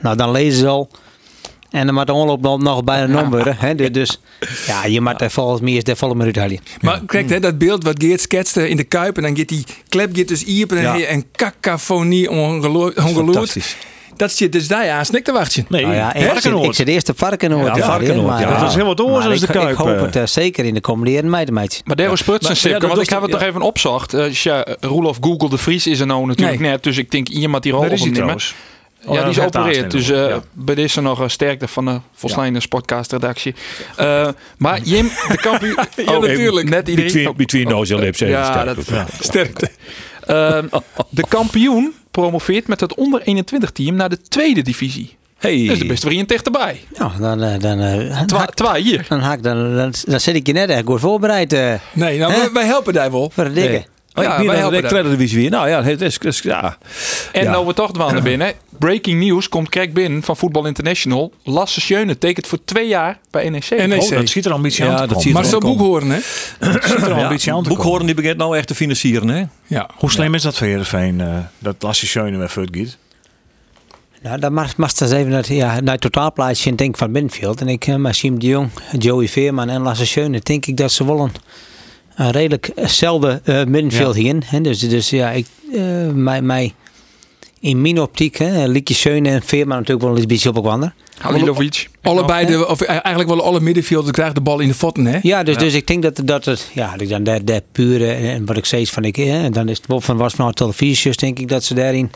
Speaker 5: Nou, dan lezen ze al. En dan moet de onloop nog- nog bijna nom worden. Hè? Dus- Dus ja, je moet er volgens mij is de volle minuut halen.
Speaker 3: Maar kijk,
Speaker 9: Hmm.
Speaker 3: hè, dat beeld wat Geert schetste in de Kuip. En dan gaat die klep gaat dus hier. En
Speaker 2: Ja.
Speaker 3: dan een cacophonie ongelooflijk.
Speaker 2: Fantastisch.
Speaker 3: Dat zit dus daar aan snik te wachten.
Speaker 1: Nee,
Speaker 5: Nou ja, ik,
Speaker 1: Varkenoord.
Speaker 5: zit, ik zit eerst op Varkenoord.
Speaker 2: Ja,
Speaker 5: te halen,
Speaker 2: Varkenoord,
Speaker 5: maar,
Speaker 2: ja.
Speaker 5: eh,
Speaker 2: Dat is
Speaker 1: heel wat anders
Speaker 5: maar
Speaker 1: als de
Speaker 5: ik-
Speaker 1: Kuip,
Speaker 5: Ik hoop
Speaker 1: eh.
Speaker 5: het eh, zeker in de komende meidenmeid.
Speaker 9: Maar Dero Spruts
Speaker 2: Maar-
Speaker 9: en
Speaker 2: ja,
Speaker 9: Sipke,
Speaker 2: dat
Speaker 9: want ik
Speaker 2: was-
Speaker 9: heb het
Speaker 2: ja.
Speaker 9: nog even opzocht. Eh, tja, Roelof Google de Vries is er nou natuurlijk
Speaker 3: Nee.
Speaker 9: net, dus ik denk iemand die rol
Speaker 1: Daar is hij
Speaker 9: opnemen.
Speaker 1: trouwens.
Speaker 9: ja, die is
Speaker 1: dat heeft
Speaker 9: opereerd. Dus
Speaker 1: aansteen
Speaker 9: eh,
Speaker 1: nog,
Speaker 9: bij deze nog een sterkte van de volslijnde sportcastredactie. Eh, maar Jim, de kampioen...
Speaker 3: Ja, natuurlijk.
Speaker 9: Net iedereen.
Speaker 2: Between, between nose and lips. even
Speaker 9: ja,
Speaker 2: sterk.
Speaker 9: dat,
Speaker 2: Ja.
Speaker 3: Sterkte.
Speaker 9: Ehm, de kampioen promoveert met het onder 21 team naar de tweede divisie.
Speaker 2: Hey.
Speaker 9: Dus de beste drieën dichterbij.
Speaker 5: Nou, dan, eh, dan, eh, dan,
Speaker 9: Twa,
Speaker 5: haak-
Speaker 9: twa hier.
Speaker 5: dan, haak- dan, dan, dan zit ik je net echt goed voorbereid. eh
Speaker 3: Nee, nou,
Speaker 5: Hè?
Speaker 3: wij, wij helpen daar wel.
Speaker 5: voor de dikke.
Speaker 2: Nee. Oh,
Speaker 3: Ja,
Speaker 2: ja, ik
Speaker 3: wij
Speaker 2: ben aan
Speaker 3: helpen
Speaker 2: de
Speaker 3: daar.
Speaker 2: Eredivisie weer. Nou ja, het is, is- ja.
Speaker 9: En
Speaker 2: Ja.
Speaker 9: nou we toch wel naar binnen. Breaking news komt krek binnen van Voetbal International. Lasse Schöne tekent voor twee jaar bij E NEC.
Speaker 3: NEC.
Speaker 1: Oh, dat ziet er ambitie
Speaker 2: Ja,
Speaker 1: aan te
Speaker 2: dat
Speaker 1: komen.
Speaker 2: ziet er
Speaker 3: Maar zo'n
Speaker 2: Welkom.
Speaker 3: boekhoorn, hè?
Speaker 1: ziet er al
Speaker 2: ja.
Speaker 1: een beetje aan te komen.
Speaker 2: Boekhoorn die begint nou echt te financieren, hè?
Speaker 3: Ja.
Speaker 1: Hoe slim is dat voor Heerenveen? eh dat Lassie Schöne met Furtgiet.
Speaker 5: Nou, dan mag, mag ze eens even naar, ja, naar het totaalplaatje en denk van Benfield. En ik, eh, maar Siem de Jong, Joey Veerman en Lasse Schöne, denk ik dat ze wel een, een redelijk zelden eh, middenveld hierin. Hè? Dus, dus ja, ik, eh, mij, mij, in mijn optiek, hè, Liekje Schöne en Veerman natuurlijk wel een beetje op elkaar.
Speaker 9: Halilovic.
Speaker 3: Allebei, de, of eh, eigenlijk wel alle middenvelders krijgen de bal in de voeten, hè?
Speaker 5: Ja, dus, dus ik denk dat, dat het, ja, dat ik dan daar, daar pure, en wat ik steeds van, ik, hè, dan is het wel van was vanuit televisie, denk ik dat ze daarin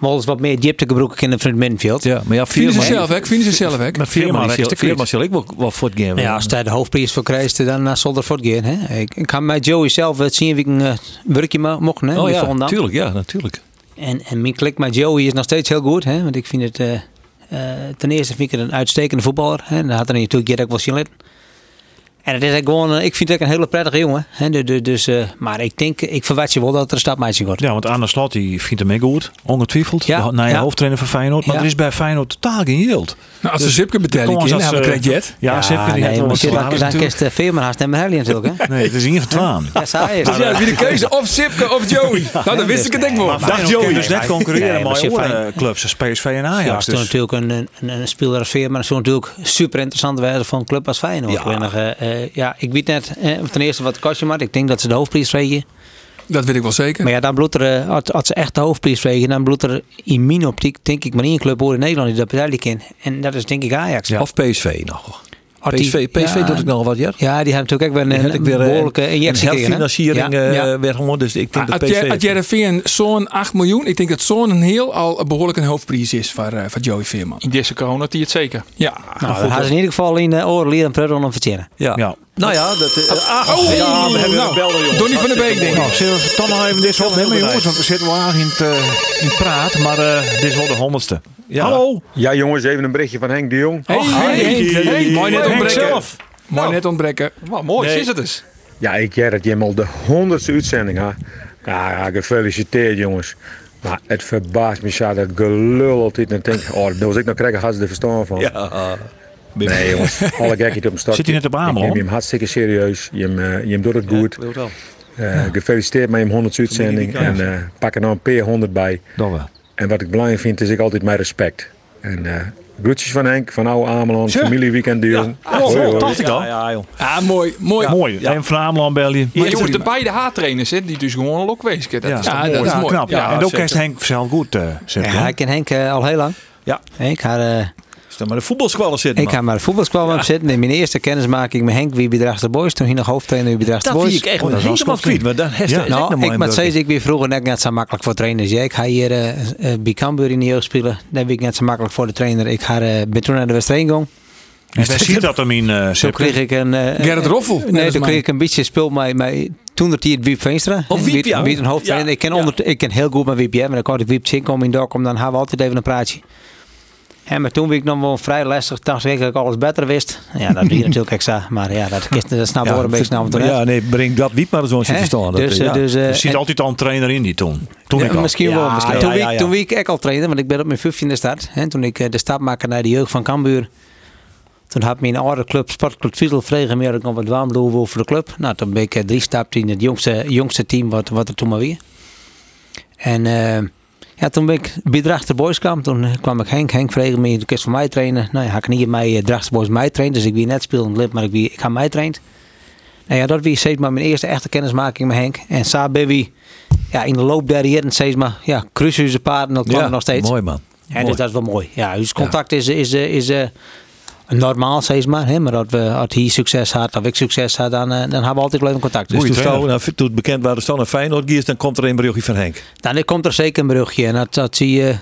Speaker 5: wel eens wat meer diepte gebruiken kunnen van het middenveld.
Speaker 2: Ja, maar ja,
Speaker 3: Vinden ze
Speaker 2: Veerman-
Speaker 3: zelf, hè? Ik Vinden ze zelf, hè?
Speaker 2: Maar Veerman,
Speaker 1: Veerman
Speaker 2: zal-
Speaker 1: is de
Speaker 2: Veerman zal ik wel, wel voortgaan.
Speaker 5: Ja, als hij de hoofdprijs voor krijgt, dan uh, zal er voortgaan. Hè. Ik, ik kan met Joey zelf het zien wie ik een eh, werkje ma- mocht. Hè,
Speaker 2: oh
Speaker 5: bij
Speaker 2: ja,
Speaker 5: Volendam.
Speaker 2: natuurlijk, ja, natuurlijk.
Speaker 5: En, en mijn klik met Joey is nog steeds heel goed. Hè? Want ik vind het... eh, eh, ten eerste vind ik het een uitstekende voetballer. Hè? En Dat had hij natuurlijk Gerrit ook wel zien litten. En het is eigenlijk gewoon... eh, ik vind het ook een hele prettige jongen. Hè? Du- du- Dus, eh, maar ik denk... Ik verwacht je wel dat er een stapmeisje wordt.
Speaker 1: Ja, want Arne Slot die vindt hem heel goed. Ongetwijfeld.
Speaker 5: Ja,
Speaker 1: Ja, nou ja,
Speaker 5: ja.
Speaker 1: hoofdtrainer van Feyenoord. Maar
Speaker 5: Ja.
Speaker 1: er is bij Feyenoord totaal geen yield.
Speaker 3: Nou, als ze Zipke betalen,
Speaker 1: Kom
Speaker 3: dan
Speaker 1: eens als,
Speaker 3: hebben we
Speaker 1: eh,
Speaker 3: krediet.
Speaker 1: Ja, ze hebben
Speaker 5: nee,
Speaker 1: niet
Speaker 5: maar
Speaker 1: helemaal
Speaker 5: shit, dan, dan
Speaker 1: natuurlijk.
Speaker 5: kist eh, Veerman haast en Mahelli natuurlijk. Hè?
Speaker 1: Nee, het is in ieder geval twaalf.
Speaker 5: Ja, saai is.
Speaker 3: Dus ja, wie de keuze? Of Zipke of Joey. Nou, dan wist ik het denk wel.
Speaker 1: Maar Dacht Joey dus net
Speaker 5: Nee,
Speaker 1: concurreren
Speaker 5: maar
Speaker 1: met
Speaker 5: ze
Speaker 1: andere
Speaker 5: fijn-
Speaker 1: clubs als PSV en
Speaker 5: Ja, als
Speaker 1: Ajax.
Speaker 5: toen
Speaker 1: Dus.
Speaker 5: natuurlijk een, een, een- een speler als Veerman. Dat zou natuurlijk super interessant werden voor een club als Feyenoord. Ja, ja ik weet net eh, ten eerste wat het kostje maar. Ik denk dat ze de hoofdprijs wegen.
Speaker 3: Dat weet ik wel zeker.
Speaker 5: Maar ja, dan bloedt er, eh, als, als ze echt de hoofdprijs wegen, dan bloedt er in mijn optiek, denk ik, maar één club hoor in Nederland die dat duidelijk in. En dat is denk ik Ajax.
Speaker 2: Of PSV nog.
Speaker 5: Had die-
Speaker 2: PSV, PSV
Speaker 5: ja,
Speaker 2: doet ik nog wat, ja.
Speaker 5: Ja, die hebben natuurlijk ook weer
Speaker 2: Dan
Speaker 5: een,
Speaker 2: heb ik weer eh,
Speaker 5: behoorlijke injectie
Speaker 2: een
Speaker 5: gekregen, hè?
Speaker 2: herfinanciering
Speaker 5: Ja, Nou,
Speaker 2: eh,
Speaker 5: ja. Ah,
Speaker 2: weer gewoon. Dus ik denk
Speaker 3: Maar
Speaker 2: dat
Speaker 3: Had jij-
Speaker 2: PSV...
Speaker 3: had Jereveen zo'n 8 miljoen? Ik denk dat zo'n heel al behoorlijk een hoofdprijs is voor, eh, voor Joey Veerman.
Speaker 9: In deze corona die het zeker.
Speaker 3: Ja.
Speaker 5: Nou, dan gaan ze in ieder geval in de oren leren en Predon om verteren.
Speaker 2: ja.
Speaker 1: Ja.
Speaker 2: Nou ja, dat... eh, ah,
Speaker 3: Oh,
Speaker 2: ja, we hebben
Speaker 3: nou,
Speaker 2: een belder, jongens.
Speaker 3: Donny van der Beek, denk ik.
Speaker 1: Nou, zullen we toch nog even dit soort nemen, jongens? Want we zitten wel aardig in het, eh, in het praat, maar eh, dit is wel de honderdste.
Speaker 2: Ja.
Speaker 1: Hallo!
Speaker 10: Ja, jongens, even een berichtje van Henk de Jong.
Speaker 3: Hey, hey, hey, hey, mooi net
Speaker 1: Henk
Speaker 3: ontbreken.
Speaker 1: zelf.
Speaker 3: Mooi net ontbreken.
Speaker 9: Wat mooi is het dus.
Speaker 10: Ja, ik jij dat Jim al de honderdste uitzending, hè? Ja, ja, gefeliciteerd, jongens. Maar het verbaast me zo dat gelul altijd. En ik denk, oh, dat was ik nog krijgen, had ze er verstand van.
Speaker 2: Ja, ah.
Speaker 10: Nee, jongens, alle gekheid op hem start.
Speaker 1: Zit hij net op Amel,
Speaker 10: Ik neem
Speaker 1: hoor?
Speaker 10: hem hartstikke serieus. Je hem, eh, je hem doet het goed.
Speaker 2: wil het wel.
Speaker 10: Eh, Gefeliciteerd met je honderdste uitzending. En eh, pak er nou een P100 bij.
Speaker 1: Dat wel.
Speaker 10: En wat ik belangrijk vind, is ik altijd mijn respect. En eh groetjes van Henk, van oude Ameland, familieweekend de Jong. Hoi, hoi.
Speaker 1: Oh, dacht ik al.
Speaker 2: Ja, ja, joh.
Speaker 3: Ah, mooi. Mooi.
Speaker 1: Mooi. En van Ameland België.
Speaker 9: Maar
Speaker 3: Ja,
Speaker 9: jongens, de
Speaker 3: prima.
Speaker 9: beide haattrainers, hè, die dus gewoon al ook wezen kunnen. Dat
Speaker 1: Ja.
Speaker 9: is toch
Speaker 3: Ja,
Speaker 9: mooi.
Speaker 3: dat is
Speaker 1: Ja,
Speaker 3: mooi.
Speaker 1: knap. Ja,
Speaker 3: Ja,
Speaker 1: en ook
Speaker 9: zeker.
Speaker 1: kerst Henk zelf goed, eh zegt
Speaker 5: Ja, ik ken Henk eh, al heel lang.
Speaker 2: Ja.
Speaker 5: Ik had, eh,
Speaker 2: Stel maar de voetbalsquallen zitten,
Speaker 5: Ik
Speaker 2: man.
Speaker 5: ga maar de voetbalschool op zitten. In mijn eerste kennismaking met Henk wie bedraagt de boys. Toen hij nog hoofdtrainer wie bedraagt de
Speaker 2: Dat vind
Speaker 5: boys.
Speaker 2: ik echt
Speaker 1: Oh, dat is wel
Speaker 2: helemaal
Speaker 1: schokkend.
Speaker 2: kwijt. Maar dan heeft
Speaker 1: Ja.
Speaker 2: hij echt nog
Speaker 5: nou,
Speaker 2: maar
Speaker 5: ik
Speaker 2: een
Speaker 5: moet
Speaker 2: beurtje.
Speaker 5: steeds, ik weer vroeger net, net zo makkelijk voor trainers. Ja, ik ga hier eh, eh, bij Cambuur in de jeugd spelen. Daar ben ik net zo makkelijk voor de trainer. Ik ga, eh, ben toen naar de wedstrijd gegaan.
Speaker 1: En wij zien dat hem in eh
Speaker 5: Toen kreeg ik een... eh,
Speaker 3: Gerrit Roffel.
Speaker 5: Nee,
Speaker 3: Net
Speaker 5: toen
Speaker 3: als
Speaker 5: kreeg
Speaker 3: mij.
Speaker 5: ik een beetje speel mij, mij toen dat hij het Wiep Veenstra.
Speaker 2: Oh,
Speaker 5: hè,
Speaker 2: Wiep, ja.
Speaker 5: een hoofdtrainer.
Speaker 2: Ja,
Speaker 5: Ik, ken
Speaker 2: ja.
Speaker 5: onder, ik ken heel goed met Wiep, ja. Maar dan kan ik Wiep zien komen in Dokkum, dan hebben we altijd even een praatje. En maar toen ben ik nog wel vrij lastig, dacht ik dat ik alles beter wist. Ja, dat hier natuurlijk extra. Maar ja, dat, is- dat snap ik wel een beetje snel.
Speaker 2: maar ja, nee, breng dat niet maar zo'n
Speaker 5: Hè?
Speaker 2: verstaan.
Speaker 5: Dus, eh, dus, eh,
Speaker 1: Er zit
Speaker 5: en-
Speaker 1: altijd al een trainer in die toen. Toen
Speaker 5: ja,
Speaker 1: ik al.
Speaker 5: misschien wel.
Speaker 2: Ja,
Speaker 5: Misschien.
Speaker 2: ja,
Speaker 5: toen,
Speaker 2: ja,
Speaker 5: Ik,
Speaker 2: ja.
Speaker 5: toen ik ook al trainer, want ik ben op mijn 15e start. Hè, toen ik eh, de stap maakte naar de jeugd van Cambuur. Toen had mijn oude club, Sportclub Viezel, vregen meer ik nog wat warm doen wil voor de club. Nou, toen ben ik eh, drie stapt in het jongste, jongste team wat, wat er toen maar weer. En eh, ja, toen ben ik bij Drachter Boys kwam. Toen eh, kwam ik Henk. Henk vreeg me, je kunt voor mij trainen. Nou ja, had ik niet in mijn eh, Drachter Boys mij trainen. Dus ik wie net speelde in het lid, maar ik, wie, ik had mij trainen. Nou ja, dat wie steeds maar mijn eerste echte kennismaking met Henk. En Saar Baby, ja, in de loop der jaren steeds maar, ja, cruisen ze paarden, dat kwam er nog steeds.
Speaker 2: mooi man.
Speaker 5: Hè, dus dat is wel mooi. Ja, dus contact is, is, eh, is eh, normaal, steeds maar. Hè? Maar dat we, als hij succes had, of ik succes had, dan, eh, dan hebben we altijd blijven contact. Dus
Speaker 2: Dus toen,
Speaker 5: toen-
Speaker 2: Stouw, nou, toen het bekend waren Stan naar Feyenoord geest, dan komt er een berichtje van Henk.
Speaker 5: dan Nou, komt er zeker een brugje. En als- als hij eh,